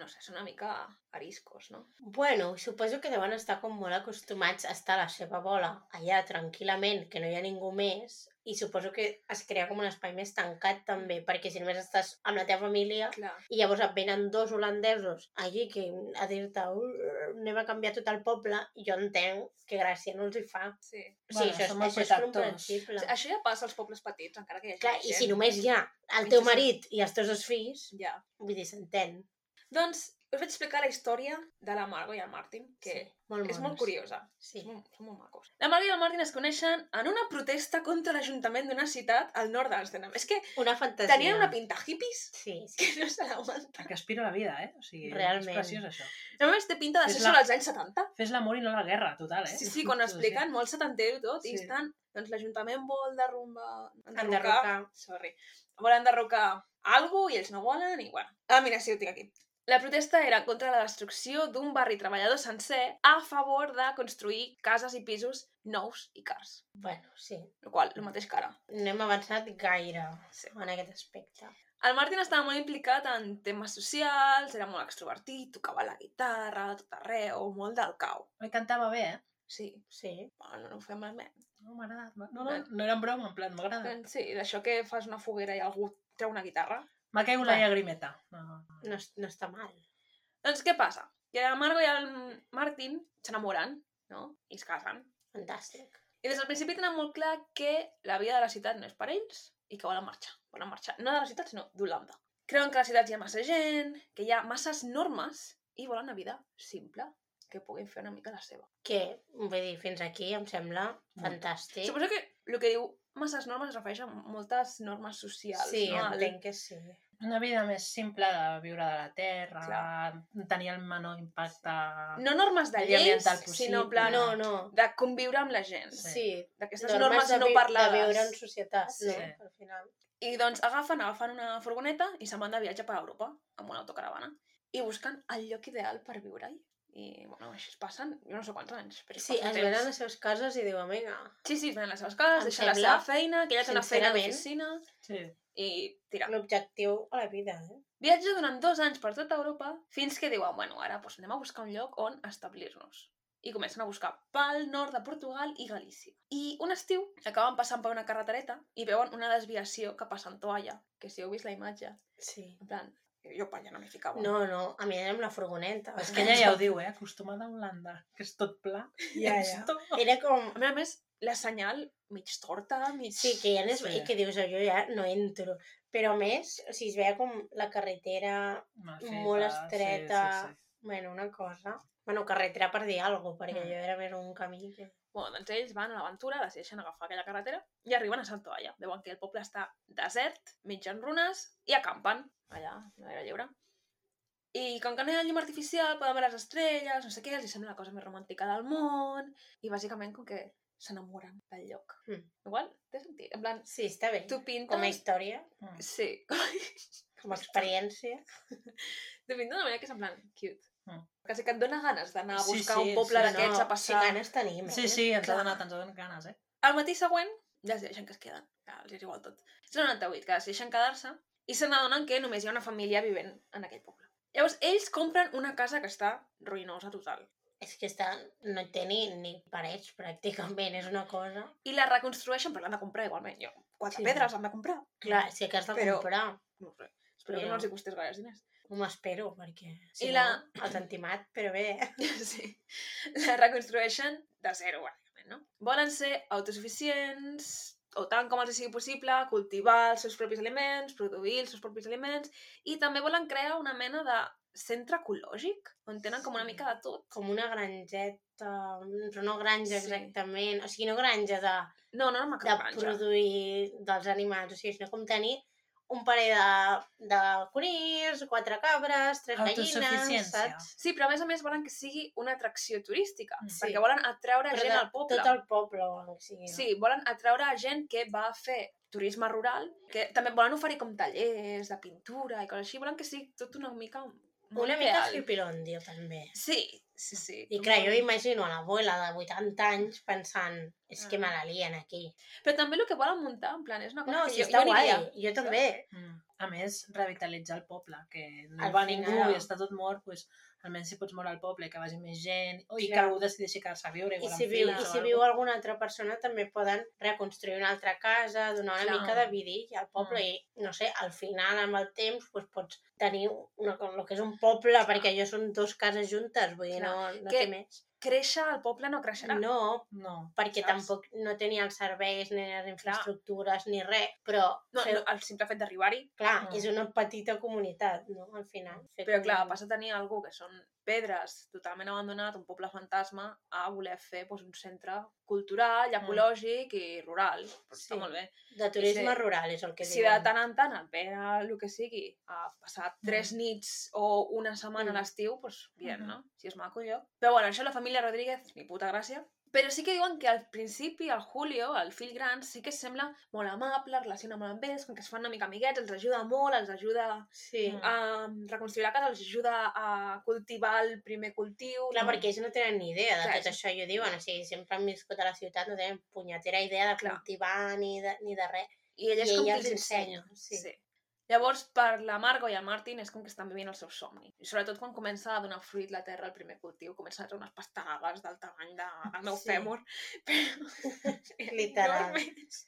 [SPEAKER 4] no sé, són una mica ariscos, no?
[SPEAKER 2] Bueno, suposo que deuen estar com molt acostumats a estar a la seva bola, allà tranquil·lament, que no hi ha ningú més, i suposo que es crea com un espai més tancat també, perquè si només estàs amb la teva família
[SPEAKER 4] Clar.
[SPEAKER 2] i llavors et venen dos holandesos allí que a dir-te "Uh, anem a canviar tot el poble, jo entenc que gràcia no els hi fa.
[SPEAKER 4] Sí.
[SPEAKER 2] Bueno, sí,
[SPEAKER 3] Bueno,
[SPEAKER 2] això,
[SPEAKER 3] són
[SPEAKER 2] és, això
[SPEAKER 3] molt
[SPEAKER 2] és
[SPEAKER 3] protectors.
[SPEAKER 2] comprensible.
[SPEAKER 4] Això ja passa als pobles petits, encara que hi hagi
[SPEAKER 2] Clar,
[SPEAKER 4] més
[SPEAKER 2] i si
[SPEAKER 4] gent.
[SPEAKER 2] només hi ha el
[SPEAKER 4] Sí,
[SPEAKER 2] teu
[SPEAKER 4] sí, sí.
[SPEAKER 2] marit i els teus dos fills,
[SPEAKER 4] Ja.
[SPEAKER 2] vull dir, s'entén.
[SPEAKER 4] Doncs, us vaig explicar la història de la Margo i el Martin, que sí,
[SPEAKER 2] molt
[SPEAKER 4] és molt
[SPEAKER 2] monos.
[SPEAKER 4] curiosa.
[SPEAKER 2] Sí.
[SPEAKER 4] Són molt, són molt macos. La Margo i el Martin es coneixen en una protesta contra l'Ajuntament d'una ciutat al nord d'Amsterdam. És que
[SPEAKER 2] Una fantasia.
[SPEAKER 4] tenien una pinta hippies
[SPEAKER 2] Sí, sí.
[SPEAKER 4] que no se l'aguanta.
[SPEAKER 3] A que aspiro a la vida, eh? O sigui,
[SPEAKER 2] Realment.
[SPEAKER 3] és preciós això.
[SPEAKER 4] A més, té pinta de
[SPEAKER 3] És
[SPEAKER 4] ser
[SPEAKER 3] la-
[SPEAKER 4] sobre els anys 70.
[SPEAKER 3] Fes l'amor i no la guerra, total, eh?
[SPEAKER 4] Sí, sí, quan ho expliquen, molt setantero i tot, sí. i
[SPEAKER 3] Sí.
[SPEAKER 4] estan... Doncs l'Ajuntament vol derrumbar...
[SPEAKER 2] Enderrocar.
[SPEAKER 4] Sorry. Vol enderrocar algú i ells no volen i bueno. Ah, mira, sí, ho tinc aquí. La protesta era contra la destrucció d'un barri treballador sencer a favor de construir cases i pisos nous i cars.
[SPEAKER 2] Bueno, sí.
[SPEAKER 4] El qual, el mateix cara.
[SPEAKER 2] No hem avançat gaire
[SPEAKER 4] Sí.
[SPEAKER 2] en aquest aspecte.
[SPEAKER 4] El Martin estava molt implicat en temes socials, era molt extrovertit, tocava la guitarra, tot arreu, molt del cau.
[SPEAKER 3] Me cantava bé, eh?
[SPEAKER 4] Sí,
[SPEAKER 2] Sí.
[SPEAKER 4] bueno, no ho fem malament.
[SPEAKER 3] No, m'ha agradat. No, no, no era en broma, en plan, m'ha agradat.
[SPEAKER 4] Doncs sí, d'això que fas una foguera i algú treu una guitarra.
[SPEAKER 3] M'ha caigut la
[SPEAKER 2] Bueno.
[SPEAKER 3] llagrimeta. No.
[SPEAKER 2] No, es- no està mal.
[SPEAKER 4] Doncs què passa? Que la Margo i el Martin s'enamoren, no? I es casen.
[SPEAKER 2] Fantàstic.
[SPEAKER 4] I des del principi tenen molt clar que la vida de la ciutat no és per ells i que volen marxar. Volen marxar, no de la ciutat, sinó d'Holanda. Creuen que a la ciutat hi ha massa gent, que hi ha masses normes i volen una vida simple, que puguin fer una mica la seva.
[SPEAKER 2] Que, vull dir, fins aquí em sembla fantàstic.
[SPEAKER 4] Suposo que el que diu masses normes es refereix a moltes normes socials,
[SPEAKER 2] Sí,
[SPEAKER 4] no? Al-
[SPEAKER 2] entenc que sí.
[SPEAKER 3] Una vida més simple de viure de la terra, tenir el menor impacte...
[SPEAKER 4] No normes de
[SPEAKER 3] Medi
[SPEAKER 4] lleis,
[SPEAKER 3] ambiental
[SPEAKER 4] sinó en
[SPEAKER 3] possible.
[SPEAKER 4] plan
[SPEAKER 2] No, no.
[SPEAKER 4] de conviure amb la gent.
[SPEAKER 3] Sí.
[SPEAKER 2] Sí.
[SPEAKER 4] d'aquestes normes, normes no
[SPEAKER 2] vi-
[SPEAKER 4] parlades.
[SPEAKER 2] De viure en societat,
[SPEAKER 4] Sí.
[SPEAKER 2] sí. no? Al final.
[SPEAKER 4] I doncs agafen, agafen una furgoneta i se'n van de viatge per Europa amb una autocaravana i busquen el lloc ideal per viure-hi. I, bueno, així es passen, jo no sé quants anys, però
[SPEAKER 2] Sí,
[SPEAKER 4] passen
[SPEAKER 2] es
[SPEAKER 4] temps.
[SPEAKER 2] venen a les seves cases i diuen, vinga,
[SPEAKER 4] Sí, sí, es venen a les seves cases,
[SPEAKER 2] Em
[SPEAKER 4] deixen la
[SPEAKER 2] sembla,
[SPEAKER 4] seva feina, que ella té una feina
[SPEAKER 2] sincerament,
[SPEAKER 4] d'oficina,
[SPEAKER 3] Sí.
[SPEAKER 4] i tira.
[SPEAKER 2] l'objectiu a la vida, eh?
[SPEAKER 4] Viatja durant dos anys per tota Europa fins que diuen, bueno, ara doncs, anem a buscar un lloc on establir-nos. I comencen a buscar pel nord de Portugal i Galícia. I un estiu acaben passant per una carretereta i veuen una desviació cap a Santoalla, que si heu vist la imatge,
[SPEAKER 2] Sí.
[SPEAKER 4] En plan, jo pa allà no m'hi ficava.
[SPEAKER 2] No, no, a mi anem la furgoneta.
[SPEAKER 3] És que ella ja ho diu, eh? Acostumada a Holanda, que és tot pla.
[SPEAKER 2] Ja,
[SPEAKER 3] És
[SPEAKER 2] ja.
[SPEAKER 3] tot...
[SPEAKER 2] Era com...
[SPEAKER 4] A més a més, la senyal mig torta, mig...
[SPEAKER 2] Sí, que ja n'és...
[SPEAKER 3] Sí.
[SPEAKER 2] I que dius, jo ja no entro. Però a més, o sigui, es veia com la carretera
[SPEAKER 3] Mal
[SPEAKER 2] Molt
[SPEAKER 3] feta, sí,
[SPEAKER 2] estreta.
[SPEAKER 3] sí, sí.
[SPEAKER 2] Bueno, una cosa... Bueno, carretera per dir alguna cosa, perquè
[SPEAKER 3] Mm.
[SPEAKER 2] jo era més un camí que...
[SPEAKER 4] Bueno, doncs ells van a l'aventura, decideixen agafar aquella carretera i arriben a Santoalla. Veuen que el poble està desert, mig en runes, i acampen allà, a l'aire lliure. I com que no hi ha llum artificial, poden veure les estrelles, no sé què, els sembla la cosa més romàntica del món, i bàsicament com que s'enamoren del lloc.
[SPEAKER 2] Mm.
[SPEAKER 4] Igual, té sentit. En plan,
[SPEAKER 2] Sí, està bé.
[SPEAKER 4] tu pintes...
[SPEAKER 2] Com a història,
[SPEAKER 3] Mm.
[SPEAKER 4] Sí,
[SPEAKER 2] com a experiència.
[SPEAKER 4] De pinta d'una manera que és en plan cute.
[SPEAKER 3] Mm.
[SPEAKER 4] Quasi que et dona ganes d'anar a
[SPEAKER 3] Sí,
[SPEAKER 4] buscar
[SPEAKER 3] Mm. sí,
[SPEAKER 4] un poble
[SPEAKER 3] sí,
[SPEAKER 4] d'aquests a passar.
[SPEAKER 2] Si ganes tenim, eh?
[SPEAKER 3] Sí, sí, ens ha
[SPEAKER 4] Clar.
[SPEAKER 3] donat, ens ha donat ganes, eh?
[SPEAKER 4] Al matí següent, ja es deixen que es queden. Ja, els és igual tot. És el 98, que es deixen quedar-se i se n'adonen que només hi ha una família vivent en aquell poble. Llavors, ells compren una casa que està ruïnosa total.
[SPEAKER 2] És que està... no té ni, ni parets, pràcticament, és una cosa...
[SPEAKER 4] I la reconstrueixen, però l'han de comprar igualment. Jo, quatre
[SPEAKER 2] Sí.
[SPEAKER 4] pedres han de comprar.
[SPEAKER 2] Clar, si que has de
[SPEAKER 4] Però-
[SPEAKER 2] comprar,
[SPEAKER 4] No ho sé. Espero que
[SPEAKER 2] Però-
[SPEAKER 4] no els hi costés gaires diners.
[SPEAKER 2] ho m'espero, perquè...
[SPEAKER 4] I
[SPEAKER 2] Si
[SPEAKER 4] la-
[SPEAKER 2] no, els han timat, però bé...
[SPEAKER 4] Sí. La reconstrueixen de zero, bàsicament, no? Volen ser autosuficients, o tant com els sigui possible, cultivar els seus propis aliments, produir els seus propis aliments, i també volen crear una mena de centre ecològic, on tenen com una
[SPEAKER 2] Sí.
[SPEAKER 4] mica de tot.
[SPEAKER 2] Com una granjeta, però no granja
[SPEAKER 4] Sí.
[SPEAKER 2] exactament, o sigui, no granja de,
[SPEAKER 4] No, no, no m'ha
[SPEAKER 2] de
[SPEAKER 4] cap granja.
[SPEAKER 2] produir dels animals, o sigui, sinó com tenir un parell de, de conills, quatre cabres, tres gallines,
[SPEAKER 3] Autosuficiència.
[SPEAKER 2] saps?
[SPEAKER 4] Sí, però a més a més volen que sigui una atracció turística,
[SPEAKER 3] Mm.
[SPEAKER 4] sí. perquè
[SPEAKER 2] Sí.
[SPEAKER 4] volen atreure
[SPEAKER 2] Però de-
[SPEAKER 4] gent
[SPEAKER 2] tota
[SPEAKER 4] al poble.
[SPEAKER 2] Tot el poble, o el que sigui. no?
[SPEAKER 4] Sí, volen atreure a gent que va a fer turisme rural, que també volen oferir com tallers de pintura i coses així, volen que sigui tot una mica... molt
[SPEAKER 2] Una mica
[SPEAKER 4] real.
[SPEAKER 2] hippirondio, també.
[SPEAKER 4] Sí, sí, sí.
[SPEAKER 2] I clar, jo imagino a l'abuela de 80 anys pensant, és
[SPEAKER 4] Ah.
[SPEAKER 2] que me la lien aquí.
[SPEAKER 4] Però també el que volen muntar, en plan, és una cosa
[SPEAKER 2] No,
[SPEAKER 4] que
[SPEAKER 2] si
[SPEAKER 4] jo,
[SPEAKER 2] està
[SPEAKER 4] jo
[SPEAKER 2] guai,
[SPEAKER 4] aniria.
[SPEAKER 2] jo també.
[SPEAKER 3] Mm. A més, revitalitzar el poble, que no
[SPEAKER 2] Al
[SPEAKER 3] hi va ningú
[SPEAKER 2] final.
[SPEAKER 3] i està tot mort, doncs, almenys si pots moure al poble, que vagi més gent, o i que
[SPEAKER 2] Clar.
[SPEAKER 3] algú decideixi quedar-se a viure,
[SPEAKER 2] I
[SPEAKER 3] igual
[SPEAKER 2] si,
[SPEAKER 3] amb
[SPEAKER 2] viu,
[SPEAKER 3] fills
[SPEAKER 2] I si
[SPEAKER 3] o alguna
[SPEAKER 2] viu alguna altra persona també poden reconstruir una altra casa, donar una
[SPEAKER 4] Clar. Mm.
[SPEAKER 2] mica de vidilla al poble i, no sé, al final, amb el temps, doncs pots tenir una, co- el que és un poble, perquè allò són dues cases juntes, vull dir,
[SPEAKER 4] Clar.
[SPEAKER 2] no, no
[SPEAKER 4] Que-
[SPEAKER 2] té més.
[SPEAKER 4] Créixer al poble no creixerà.
[SPEAKER 2] No,
[SPEAKER 3] No.
[SPEAKER 2] perquè
[SPEAKER 4] Saps?
[SPEAKER 2] tampoc no tenia els serveis, ni les infraestructures, ni res, però,
[SPEAKER 4] No,
[SPEAKER 2] fer,
[SPEAKER 4] no, el simple fet d'arribar-hi.
[SPEAKER 2] clar,
[SPEAKER 3] Mm.
[SPEAKER 2] és una petita comunitat, no?, al final. Fer
[SPEAKER 4] Però clar,
[SPEAKER 2] comunitat.
[SPEAKER 4] vas a tenir algú que són pedres totalment abandonat, un poble fantasma, a voler fer doncs, un centre cultural, i ecològic i rural. Pues
[SPEAKER 2] Mm. Sí.
[SPEAKER 4] Està molt bé.
[SPEAKER 2] De turisme
[SPEAKER 4] Sí.
[SPEAKER 2] rural és el que
[SPEAKER 4] si de
[SPEAKER 2] diuen.
[SPEAKER 4] tant en tant et ve a el que sigui a passar tres nits o una setmana
[SPEAKER 2] Mm.
[SPEAKER 4] a l'estiu, doncs bien,
[SPEAKER 3] Mhm.
[SPEAKER 4] no? Si és maco, jo. Però bueno, això la família Rodríguez, ni puta gràcia. Però sí que diuen que al principi, el Julio, el fill gran, sí que sembla molt amable, es relaciona molt amb ells, com que es fan una mica amiguets, els ajuda molt, els ajuda
[SPEAKER 2] Sí.
[SPEAKER 3] Mm.
[SPEAKER 4] a reconstruir la casa, els ajuda a cultivar el primer cultiu.
[SPEAKER 2] Clar, perquè ells no tenen ni idea de
[SPEAKER 4] Clar,
[SPEAKER 2] tot
[SPEAKER 4] és-
[SPEAKER 2] això, i ho diuen. O sigui, sempre han viscut a la ciutat, no tenen punyetera idea de
[SPEAKER 4] Clar.
[SPEAKER 2] cultivar ni de, ni de res.
[SPEAKER 4] I ella és
[SPEAKER 2] I
[SPEAKER 4] com
[SPEAKER 2] ella
[SPEAKER 4] que els ensenya.
[SPEAKER 2] Sí. sí.
[SPEAKER 4] Llavors, per la Margo i el Martin és com que estan vivint el seu somni. I sobretot quan comença a donar fruit la terra al primer cultiu, comencen a treure unes pastagaves del tamany de, del meu
[SPEAKER 2] Sí.
[SPEAKER 4] sí. fèmur. Però...
[SPEAKER 2] Literal.
[SPEAKER 4] Enormes.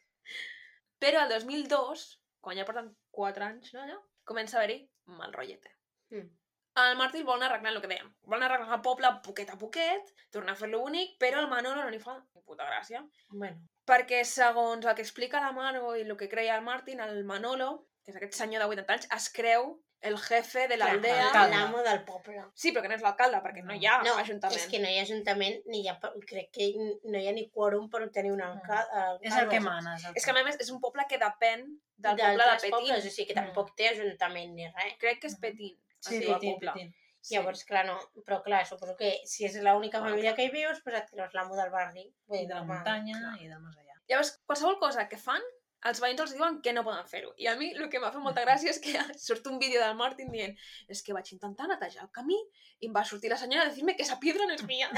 [SPEAKER 4] Però el 2002, quan ja porten 4 anys, no, allò, comença a haver-hi mal rotllete.
[SPEAKER 2] Mm.
[SPEAKER 4] El Martí el volen arreglar el que dèiem. Volen arreglar el poble poquet a poquet, tornar a fer-lo bonic, però el Manolo no li fa ni puta gràcia.
[SPEAKER 2] Bueno,
[SPEAKER 4] Perquè segons el que explica la Margo i el que creia el Martin, el Manolo, que és aquest senyor de 80 anys, es creu el jefe de
[SPEAKER 2] clar,
[SPEAKER 4] l'aldea...
[SPEAKER 3] l'alcalde.
[SPEAKER 2] l'amo del poble.
[SPEAKER 4] Sí, però que no és l'alcalde, perquè no hi ha
[SPEAKER 2] No,
[SPEAKER 4] ajuntament.
[SPEAKER 2] És que no hi ha ajuntament, ni hi ha, pa- crec que no hi ha ni quòrum per obtenir eh, un alcalde.
[SPEAKER 3] És el que mana. És el
[SPEAKER 4] és que a més és un poble que depèn del
[SPEAKER 2] D'altres
[SPEAKER 4] poble de Petín.
[SPEAKER 2] pobles, o sigui que
[SPEAKER 3] Mm.
[SPEAKER 2] tampoc té ajuntament ni res.
[SPEAKER 4] Crec que és Petín.
[SPEAKER 3] Sí,
[SPEAKER 4] el
[SPEAKER 3] sí,
[SPEAKER 4] seu
[SPEAKER 3] petit,
[SPEAKER 4] poble.
[SPEAKER 3] petit.
[SPEAKER 2] Sí. Llavors, clar, no, però clar, suposo que si és l'única
[SPEAKER 4] Bueno,
[SPEAKER 2] família que hi vius, pues et creus l'amo del barri. Vull
[SPEAKER 3] I
[SPEAKER 2] dir,
[SPEAKER 3] de la
[SPEAKER 2] normal.
[SPEAKER 3] muntanya i del més allà.
[SPEAKER 4] Llavors, qualsevol cosa que fan, els veïns els diuen que no poden fer-ho. I a mi el que m'ha fet molta gràcia és que surt un vídeo del Martin dient és que vaig intentar netejar el camí i em va sortir la senyora a dir-me que esa piedra no és mia.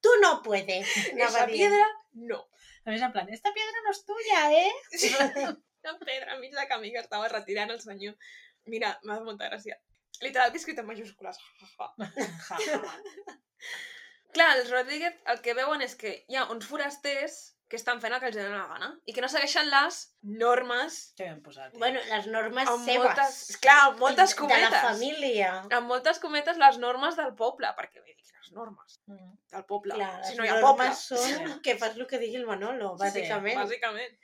[SPEAKER 2] Tu no puedes, anava
[SPEAKER 4] Esa
[SPEAKER 2] a dir.
[SPEAKER 4] piedra, no.
[SPEAKER 3] A més, en plan, esta piedra no és tuya, eh?
[SPEAKER 4] Una pedra enmig de camí que estava retirant el senyor. Mira, m'ha fet molta gràcia. Literal, que he escrit en majúscules. Ja, ja, ja.
[SPEAKER 3] Ja.
[SPEAKER 4] Clar, els Rodríguez el que veuen és que hi ha uns forasters que estan fent el que els donen la gana i que no segueixen les normes
[SPEAKER 3] Què hem posat?
[SPEAKER 2] Bueno, les normes
[SPEAKER 4] amb
[SPEAKER 2] seves.
[SPEAKER 4] moltes... Clar, amb moltes cometes.
[SPEAKER 2] De la família.
[SPEAKER 4] Amb moltes cometes les normes del poble, perquè vull dir, quines normes
[SPEAKER 3] Mm.
[SPEAKER 4] del poble?
[SPEAKER 2] Clar,
[SPEAKER 4] si
[SPEAKER 2] les
[SPEAKER 4] no hi ha poble.
[SPEAKER 2] normes són
[SPEAKER 3] Sí.
[SPEAKER 2] que fas el que digui el Manolo,
[SPEAKER 3] Sí,
[SPEAKER 2] bàsicament.
[SPEAKER 4] Bàsicament.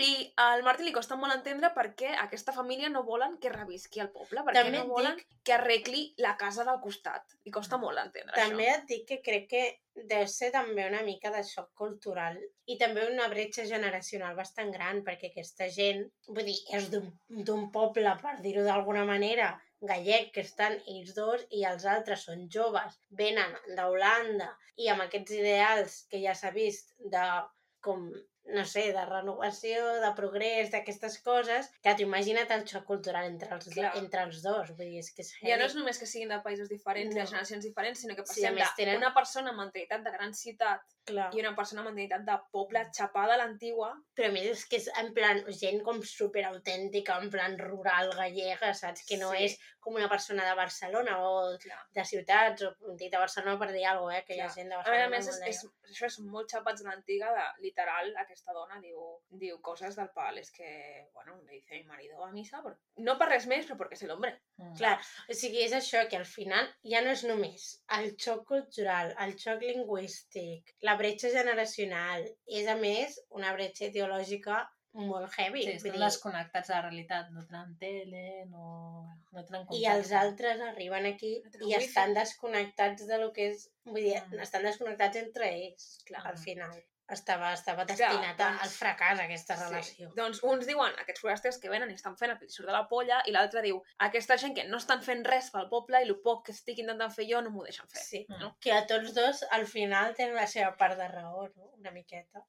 [SPEAKER 4] I al Martí li costa molt entendre per què aquesta família no volen que revisqui el poble, perquè
[SPEAKER 2] També
[SPEAKER 4] no
[SPEAKER 2] et Mm.
[SPEAKER 4] volen que arregli la casa del costat. Li costa molt entendre
[SPEAKER 2] també
[SPEAKER 4] això.
[SPEAKER 2] et dic que crec que deu ser també una mica de xoc cultural i també una bretxa generacional bastant gran perquè aquesta gent, vull dir, és d'un- d'un poble, per dir-ho d'alguna manera, gallec, que estan ells dos i els altres són joves, venen d'Holanda i amb aquests ideals que ja s'ha vist de com no sé, de renovació, de progrés, d'aquestes coses, que t'ho imagina't el xoc cultural entre els, do,
[SPEAKER 4] Clar.
[SPEAKER 2] entre els dos, vull dir, és que és
[SPEAKER 4] Ja no
[SPEAKER 2] heavy.
[SPEAKER 4] és només que siguin de països diferents,
[SPEAKER 2] No.
[SPEAKER 4] de generacions diferents, sinó que
[SPEAKER 2] Sí, a
[SPEAKER 4] passem
[SPEAKER 2] més
[SPEAKER 4] sí,
[SPEAKER 2] tenen- Ah.
[SPEAKER 4] d'una persona amb mentalitat de gran ciutat
[SPEAKER 2] Clar.
[SPEAKER 4] i una persona amb mentalitat de poble xapada a l'antigua.
[SPEAKER 2] Però a més és que és en plan gent com super autèntica, en plan rural, gallega, saps? Que no
[SPEAKER 4] Sí.
[SPEAKER 2] és com una persona de Barcelona o
[SPEAKER 4] Clar.
[SPEAKER 2] de ciutats, o dic de Barcelona per dir alguna cosa, eh? Que hi ha
[SPEAKER 4] Clar.
[SPEAKER 2] gent de
[SPEAKER 4] A veure,
[SPEAKER 2] Barcelona.
[SPEAKER 4] a més, és,
[SPEAKER 2] molt de-
[SPEAKER 4] és, això és molt xapats a l'antiga de, literal, a aquesta dona diu, diu coses del pal, és que, bueno, le dice mi marido a misa, per... no per res més, però perquè és l'home.
[SPEAKER 3] Mm.
[SPEAKER 2] Clar, o sigui, és això, que al final ja no és només el xoc cultural, el xoc lingüístic, la bretxa generacional, és a més una bretxa ideològica molt heavy.
[SPEAKER 3] Sí, estan
[SPEAKER 2] vull dir,
[SPEAKER 3] desconnectats de la realitat, no tenen tele, no, no tenen
[SPEAKER 2] I els altres arriben aquí
[SPEAKER 4] No
[SPEAKER 2] i
[SPEAKER 4] tenen wifi.
[SPEAKER 2] estan desconnectats de lo que és... Vull dir,
[SPEAKER 3] Mm.
[SPEAKER 2] estan desconnectats entre ells, clar, al
[SPEAKER 3] Mm.
[SPEAKER 2] final. Estava, estava
[SPEAKER 4] Clar,
[SPEAKER 2] destinat a-
[SPEAKER 4] doncs-
[SPEAKER 2] al fracàs aquesta relació.
[SPEAKER 4] Doncs uns diuen, aquests forasters que venen i estan fent el que els surt de la polla, i l'altre diu, aquesta gent que no estan fent res pel poble i el poc que estic intentant fer jo no m'ho deixen fer.
[SPEAKER 2] Sí,
[SPEAKER 3] Mm.
[SPEAKER 2] que a tots dos al final tenen la seva part de raó, no? Una miqueta.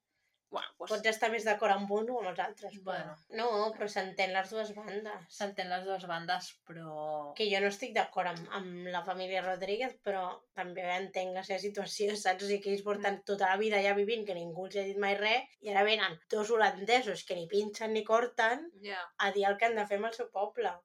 [SPEAKER 4] Bueno, doncs...
[SPEAKER 2] Pots estar més d'acord amb un o amb els altres. Però...
[SPEAKER 3] Bueno.
[SPEAKER 2] No, però s'entén les dues bandes.
[SPEAKER 3] S'entén les dues bandes, però...
[SPEAKER 2] Que jo no estic d'acord amb, amb la família Rodríguez, però també entenc la seva situació, saps? O sigui, que ells porten
[SPEAKER 4] Mm.
[SPEAKER 2] tota la vida ja vivint, que ningú els ha dit mai res, i ara venen dos holandesos que ni pinxen ni corten
[SPEAKER 4] Ja.
[SPEAKER 2] a dir el que han de fer amb el seu poble. O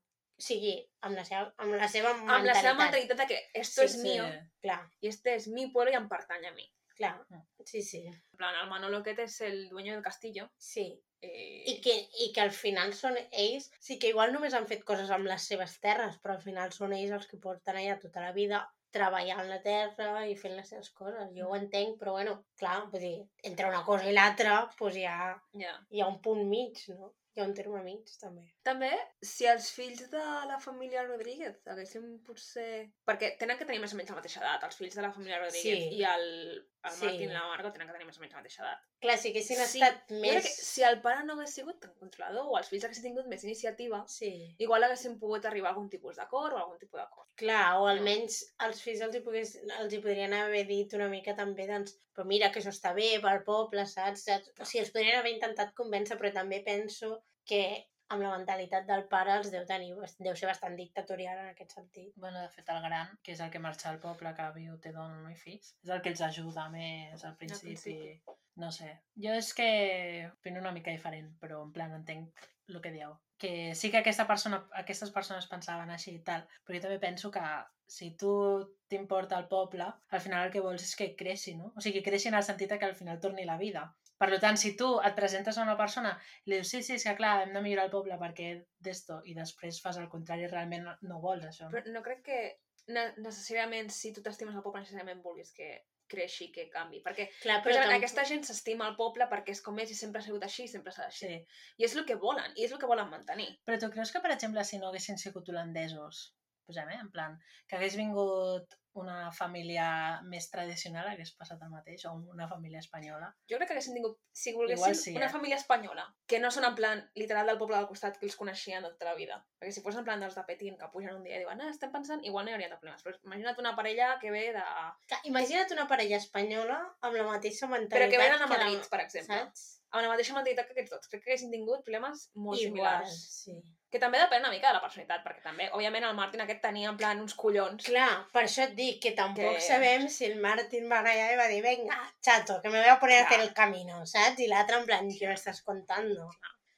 [SPEAKER 2] sigui, amb la seva, amb la seva
[SPEAKER 4] Amb la seva
[SPEAKER 2] mentalitat.
[SPEAKER 4] mentalitat de que esto
[SPEAKER 2] Sí,
[SPEAKER 4] es mío
[SPEAKER 2] Clar,
[SPEAKER 4] y este es mi pueblo y em pertany a mi.
[SPEAKER 2] clar.
[SPEAKER 3] Mm.
[SPEAKER 2] Sí, sí.
[SPEAKER 4] En plan, el Manolo aquest és el dueño del castillo.
[SPEAKER 2] Sí,
[SPEAKER 4] Eh...
[SPEAKER 2] I que, I que al final són ells, sí que igual només han fet coses amb les seves terres, però al final són ells els que porten allà tota la vida treballant la terra i fent les seves coses. Jo ho
[SPEAKER 4] Mm.
[SPEAKER 2] entenc, però bueno, clar, vull dir, entre una cosa i l'altra, doncs hi ha,
[SPEAKER 4] Ja.
[SPEAKER 2] hi ha un punt mig, no? Hi ha un terme mig, també.
[SPEAKER 4] També, si els fills de la família Rodríguez haguessin potser... Perquè tenen que tenir més o menys la mateixa edat, els fills de la família Rodríguez
[SPEAKER 2] Sí.
[SPEAKER 4] i el, el
[SPEAKER 2] Sí.
[SPEAKER 4] Martín i la Margo tenen que tenir més o menys la mateixa edat.
[SPEAKER 2] Clar, si haguessin
[SPEAKER 4] Sí,
[SPEAKER 2] estat
[SPEAKER 4] Jo crec
[SPEAKER 2] més...
[SPEAKER 4] Que, si el pare no hagués sigut tan controlador o els fills haguessin tingut més iniciativa,
[SPEAKER 2] Sí,
[SPEAKER 4] igual haguessin pogut arribar a algun tipus d'acord o algun tipus d'acord.
[SPEAKER 2] clar, o almenys els fills els hi, pogués, els hi podrien haver dit una mica també, doncs, però mira que això està bé pel poble, saps? saps? O sigui, els podrien haver intentat convèncer, però també penso que amb la mentalitat del pare els deu tenir, bast- deu ser bastant dictatorial en aquest sentit.
[SPEAKER 3] Bueno, de fet, el gran, que és el que marxa al poble, que viu, té dona, no i fills, és el que els ajuda més al principi.
[SPEAKER 4] principi.
[SPEAKER 3] No sé. Jo és que opino una mica diferent, però en plan entenc el que dieu. Que sí que aquesta persona, aquestes persones pensaven així i tal, però jo també penso que si tu t'importa el poble, al final el que vols és que creixi, no? O sigui, que creixi en el sentit de que al final torni la vida. Per tant, si tu et presentes a una persona i li dius, sí, sí, és que clar, hem de millorar el poble perquè d'esto, i després fas el contrari, realment no, no vols això.
[SPEAKER 4] Però no crec que ne- necessàriament, si tu t'estimes el poble, necessàriament vulguis que creixi, que canvi. Perquè
[SPEAKER 2] Clar,
[SPEAKER 4] però
[SPEAKER 2] però tampoc...
[SPEAKER 4] aquesta gent s'estima el poble perquè és com és i sempre ha sigut així i sempre serà així.
[SPEAKER 3] Sí.
[SPEAKER 4] I és el que volen, i és el que volen mantenir.
[SPEAKER 3] Però tu creus que, per exemple, si no haguessin sigut holandesos, posem, eh? en plan, que hagués vingut una família més tradicional, hagués passat el mateix, o una família espanyola.
[SPEAKER 4] Jo crec que haguessin tingut, si
[SPEAKER 3] Igual
[SPEAKER 4] volguessin,
[SPEAKER 3] sí,
[SPEAKER 4] sí, una
[SPEAKER 3] eh?
[SPEAKER 4] família espanyola, que no són en plan literal del poble del costat que els coneixien de tota la vida. Perquè si fos en plan dels de Petín, que pugen un dia i diuen, ah, estem pensant, igual no hi hauria de problemes. Però imagina't una parella que ve de...
[SPEAKER 2] Clar, Imagina't una parella espanyola amb la mateixa mentalitat...
[SPEAKER 4] Però que venen a
[SPEAKER 2] la-
[SPEAKER 4] Madrid, per exemple.
[SPEAKER 2] Saps?
[SPEAKER 4] Amb la mateixa mentalitat que aquests dos. Crec que haguessin tingut problemes molt
[SPEAKER 2] Igual,
[SPEAKER 4] similars.
[SPEAKER 2] sí.
[SPEAKER 4] Que també depèn una mica de la personalitat, perquè també, òbviament, el Martin aquest tenia en plan uns collons.
[SPEAKER 2] Clar, per això et dic que tampoc
[SPEAKER 4] Que-
[SPEAKER 2] que... sabem si el Martín va anar allà i va dir venga, chato, que me voy a poner a
[SPEAKER 4] Clar.
[SPEAKER 2] hacer el camino, saps? I l'altre en plan, ¿qué me estás contando?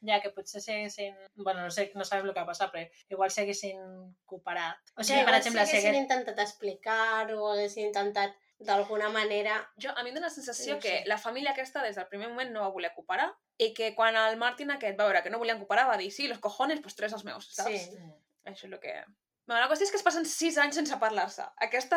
[SPEAKER 3] Ja que potser si haguessin... Bueno, no, sé, no sabem el que va passar, però igual si haguessin cooperat. O sigui, per
[SPEAKER 2] igual
[SPEAKER 3] exemple,
[SPEAKER 2] si
[SPEAKER 3] si
[SPEAKER 2] haguessin
[SPEAKER 3] haguessin...
[SPEAKER 2] intentat explicar o haguessin intentat d'alguna manera...
[SPEAKER 4] Jo, a mi em dóna la sensació
[SPEAKER 2] No
[SPEAKER 4] que
[SPEAKER 2] sé.
[SPEAKER 4] la família aquesta des del primer moment no va voler cooperar i que quan el Martin aquest va veure que no volien cooperar va dir, sí, los cojones, pues tres els meus, saps?
[SPEAKER 2] Sí.
[SPEAKER 3] Mm,
[SPEAKER 4] Això és el que... Bueno, la qüestió és que es passen 6 anys sense parlar-se. Aquesta...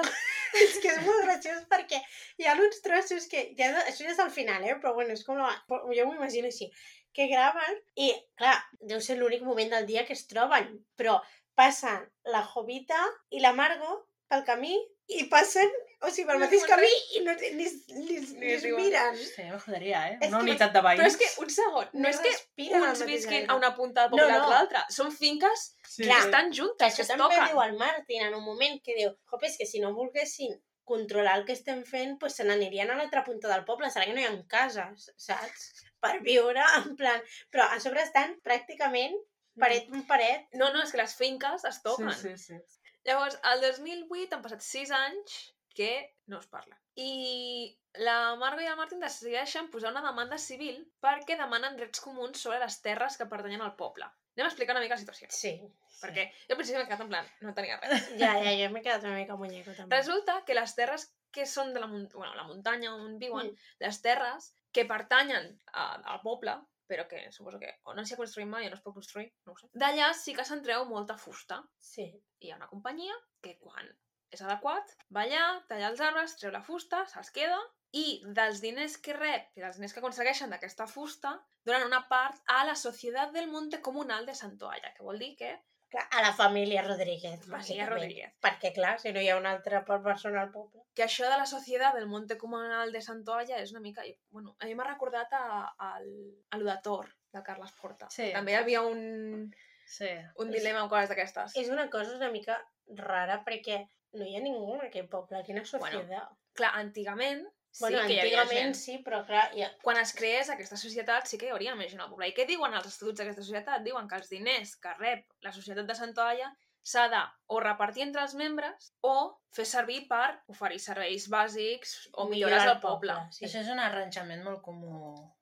[SPEAKER 2] és que és molt graciós perquè hi ha uns trossos que... Ja, això ja és al final, eh? Però bueno, és com la... Jo m'ho imagino així. Que graven i, clar, deu ser l'únic moment del dia que es troben, però passen la Jovita i la Margo pel camí i passen, o sigui, pel
[SPEAKER 4] No
[SPEAKER 2] mateix
[SPEAKER 4] es
[SPEAKER 2] camí i no, ni, es- ni, es-
[SPEAKER 4] Ni
[SPEAKER 2] ni
[SPEAKER 4] es
[SPEAKER 2] es
[SPEAKER 4] diuen.
[SPEAKER 2] miren.
[SPEAKER 3] Sí, em joderia, eh?
[SPEAKER 2] És
[SPEAKER 3] Una
[SPEAKER 2] que-
[SPEAKER 3] unitat de veïns.
[SPEAKER 4] Però és que, un segon, no és que
[SPEAKER 2] respiren al
[SPEAKER 4] uns
[SPEAKER 2] mateix
[SPEAKER 4] visquin
[SPEAKER 2] aire.
[SPEAKER 4] a una punta del poble
[SPEAKER 2] No,
[SPEAKER 4] i l'altre
[SPEAKER 2] no.
[SPEAKER 4] a l'altra. Són finques
[SPEAKER 3] Sí,
[SPEAKER 4] que
[SPEAKER 2] Clar.
[SPEAKER 3] sí.
[SPEAKER 4] estan
[SPEAKER 2] Que
[SPEAKER 4] juntes, que
[SPEAKER 2] això
[SPEAKER 4] es
[SPEAKER 2] també ho diu
[SPEAKER 4] toquen.
[SPEAKER 2] el Martin en un moment, que diu, "Jop, és que si no volguessin controlar el que estem fent, pues se n'anirien a l'altra punta del poble, serà que no hi ha cases, saps? Per viure, en plan... Però a sobre estan pràcticament
[SPEAKER 4] Mm.
[SPEAKER 2] paret amb paret.
[SPEAKER 4] No, no, és que les finques es toquen.
[SPEAKER 3] Sí, sí, sí.
[SPEAKER 4] Llavors, al 2008 han passat 6 anys que no es parla. I la Margo i el Martin decideixen posar una demanda civil perquè demanen drets comuns sobre les terres que pertanyen al poble. Anem a explicar una mica la situació.
[SPEAKER 2] Sí,
[SPEAKER 4] Perquè jo al principi m'he quedat en plan, no tenia res.
[SPEAKER 2] ja, ja, jo m'he quedat una mica muñeco també.
[SPEAKER 4] Resulta que les terres que són de la, mun- bueno, la muntanya on viuen,
[SPEAKER 2] Mm.
[SPEAKER 4] les terres que pertanyen a, al poble, però que suposo que o no s'hi ha construït mai o no es pot construir, no ho sé. D'allà sí que se'n treu molta fusta.
[SPEAKER 2] Sí.
[SPEAKER 4] Hi ha una companyia que quan és adequat va allà, talla els arbres, treu la fusta, se'ls queda i dels diners que rep i dels diners que aconsegueixen d'aquesta fusta donen una part a la Societat del Monte Comunal de Santoalla, que vol dir que
[SPEAKER 2] Clar, a la família Rodríguez,
[SPEAKER 4] Masia
[SPEAKER 2] bàsicament.
[SPEAKER 4] Rodríguez.
[SPEAKER 2] Perquè, clar, si no hi ha una altra persona al poble...
[SPEAKER 4] que això de la societat del Monte Comunal de Santoalla és una mica... i, Bueno, a mi m'ha recordat a, a, a lo de Thor, de Carles Porta.
[SPEAKER 3] Sí.
[SPEAKER 4] També hi havia un,
[SPEAKER 3] Sí.
[SPEAKER 4] un
[SPEAKER 2] És-
[SPEAKER 4] dilema amb coses d'aquestes.
[SPEAKER 2] És una cosa una mica rara perquè no hi ha ningú en aquell poble, quina societat. Bueno,
[SPEAKER 4] Clar, antigament sí
[SPEAKER 2] bueno
[SPEAKER 4] que hi havia
[SPEAKER 2] antigament
[SPEAKER 4] gent.
[SPEAKER 2] sí, però clar, hi ha...
[SPEAKER 4] Quan es creés aquesta societat sí que hi hauria més gent al poble. I què diuen els estatuts d'aquesta societat? Diuen que els diners que rep la societat de Santoalla s'ha de o repartir entre els membres o fer servir per oferir serveis bàsics o millores
[SPEAKER 2] millorar el
[SPEAKER 4] al
[SPEAKER 3] sí.
[SPEAKER 4] poble.
[SPEAKER 3] Ah,
[SPEAKER 2] Sí.
[SPEAKER 3] Això és un arranjament molt comú.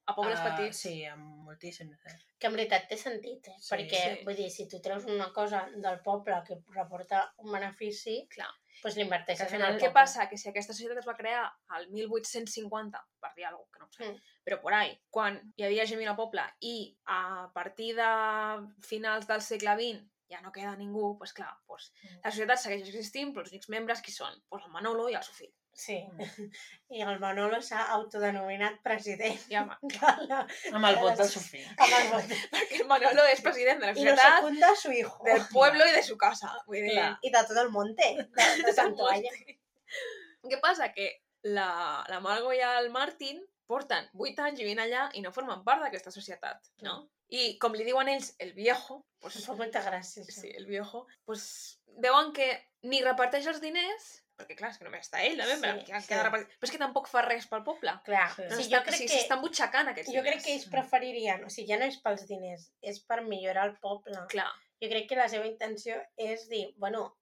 [SPEAKER 4] A pobles
[SPEAKER 3] a-
[SPEAKER 4] petits.
[SPEAKER 3] Sí, amb moltíssims. Eh?
[SPEAKER 2] Que en veritat té sentit, eh?
[SPEAKER 3] Sí,
[SPEAKER 2] sí, perquè,
[SPEAKER 4] sí.
[SPEAKER 2] sí. vull dir, si tu treus una cosa del poble que reporta un benefici,
[SPEAKER 4] Clar.
[SPEAKER 2] doncs l'inverteixes
[SPEAKER 3] Que al
[SPEAKER 2] en
[SPEAKER 3] final
[SPEAKER 2] el
[SPEAKER 4] Què
[SPEAKER 2] poble.
[SPEAKER 4] passa? Que si aquesta societat es va crear al 1850, per dir alguna cosa, que no ho sé,
[SPEAKER 2] Mm.
[SPEAKER 4] però por ahí, quan hi havia gent al poble i a partir de finals del segle XX ja no queda ningú, doncs pues clar, pues,
[SPEAKER 3] Mm.
[SPEAKER 4] la societat segueix existint, però els únics membres qui són? Doncs pues el Manolo i el seu fill.
[SPEAKER 2] Sí, i el Manolo s'ha autodenominat president
[SPEAKER 4] I el... Ma-
[SPEAKER 2] de la...
[SPEAKER 3] Amb el vot del Sofí.
[SPEAKER 2] Amb el vot.
[SPEAKER 4] Perquè el Manolo és president de la
[SPEAKER 2] I lo
[SPEAKER 4] societat,
[SPEAKER 2] secunda a su hijo.
[SPEAKER 4] del pueblo i de su casa. Vull dir,
[SPEAKER 2] I de tot el monte. De, de Santoalla. Mm.
[SPEAKER 4] Què passa? Que la, la Margo i el Martin porten 8 anys vivint allà i no formen part d'aquesta societat, no?
[SPEAKER 2] Mm.
[SPEAKER 4] I com li diuen ells, el viejo, pues,
[SPEAKER 2] Em fa molta gràcia. això.
[SPEAKER 4] sí, el viejo, pues, veuen que ni reparteix els diners, perquè clar, és que només està ell, de membre,
[SPEAKER 2] Sí,
[SPEAKER 4] sí, que
[SPEAKER 2] sí.
[SPEAKER 4] sí. repartit, però és que tampoc fa res pel poble.
[SPEAKER 2] Clar,
[SPEAKER 3] Sí.
[SPEAKER 2] sí,
[SPEAKER 4] No
[SPEAKER 2] jo
[SPEAKER 4] està-
[SPEAKER 2] crec
[SPEAKER 4] sí,
[SPEAKER 2] que...
[SPEAKER 4] S'estan butxacant aquests
[SPEAKER 2] Jo
[SPEAKER 4] diners.
[SPEAKER 2] crec que ells preferirien, o sigui, ja no és pels diners, és per millorar el poble.
[SPEAKER 4] Clar,
[SPEAKER 2] Jo crec que la seva intenció és dir, bueno,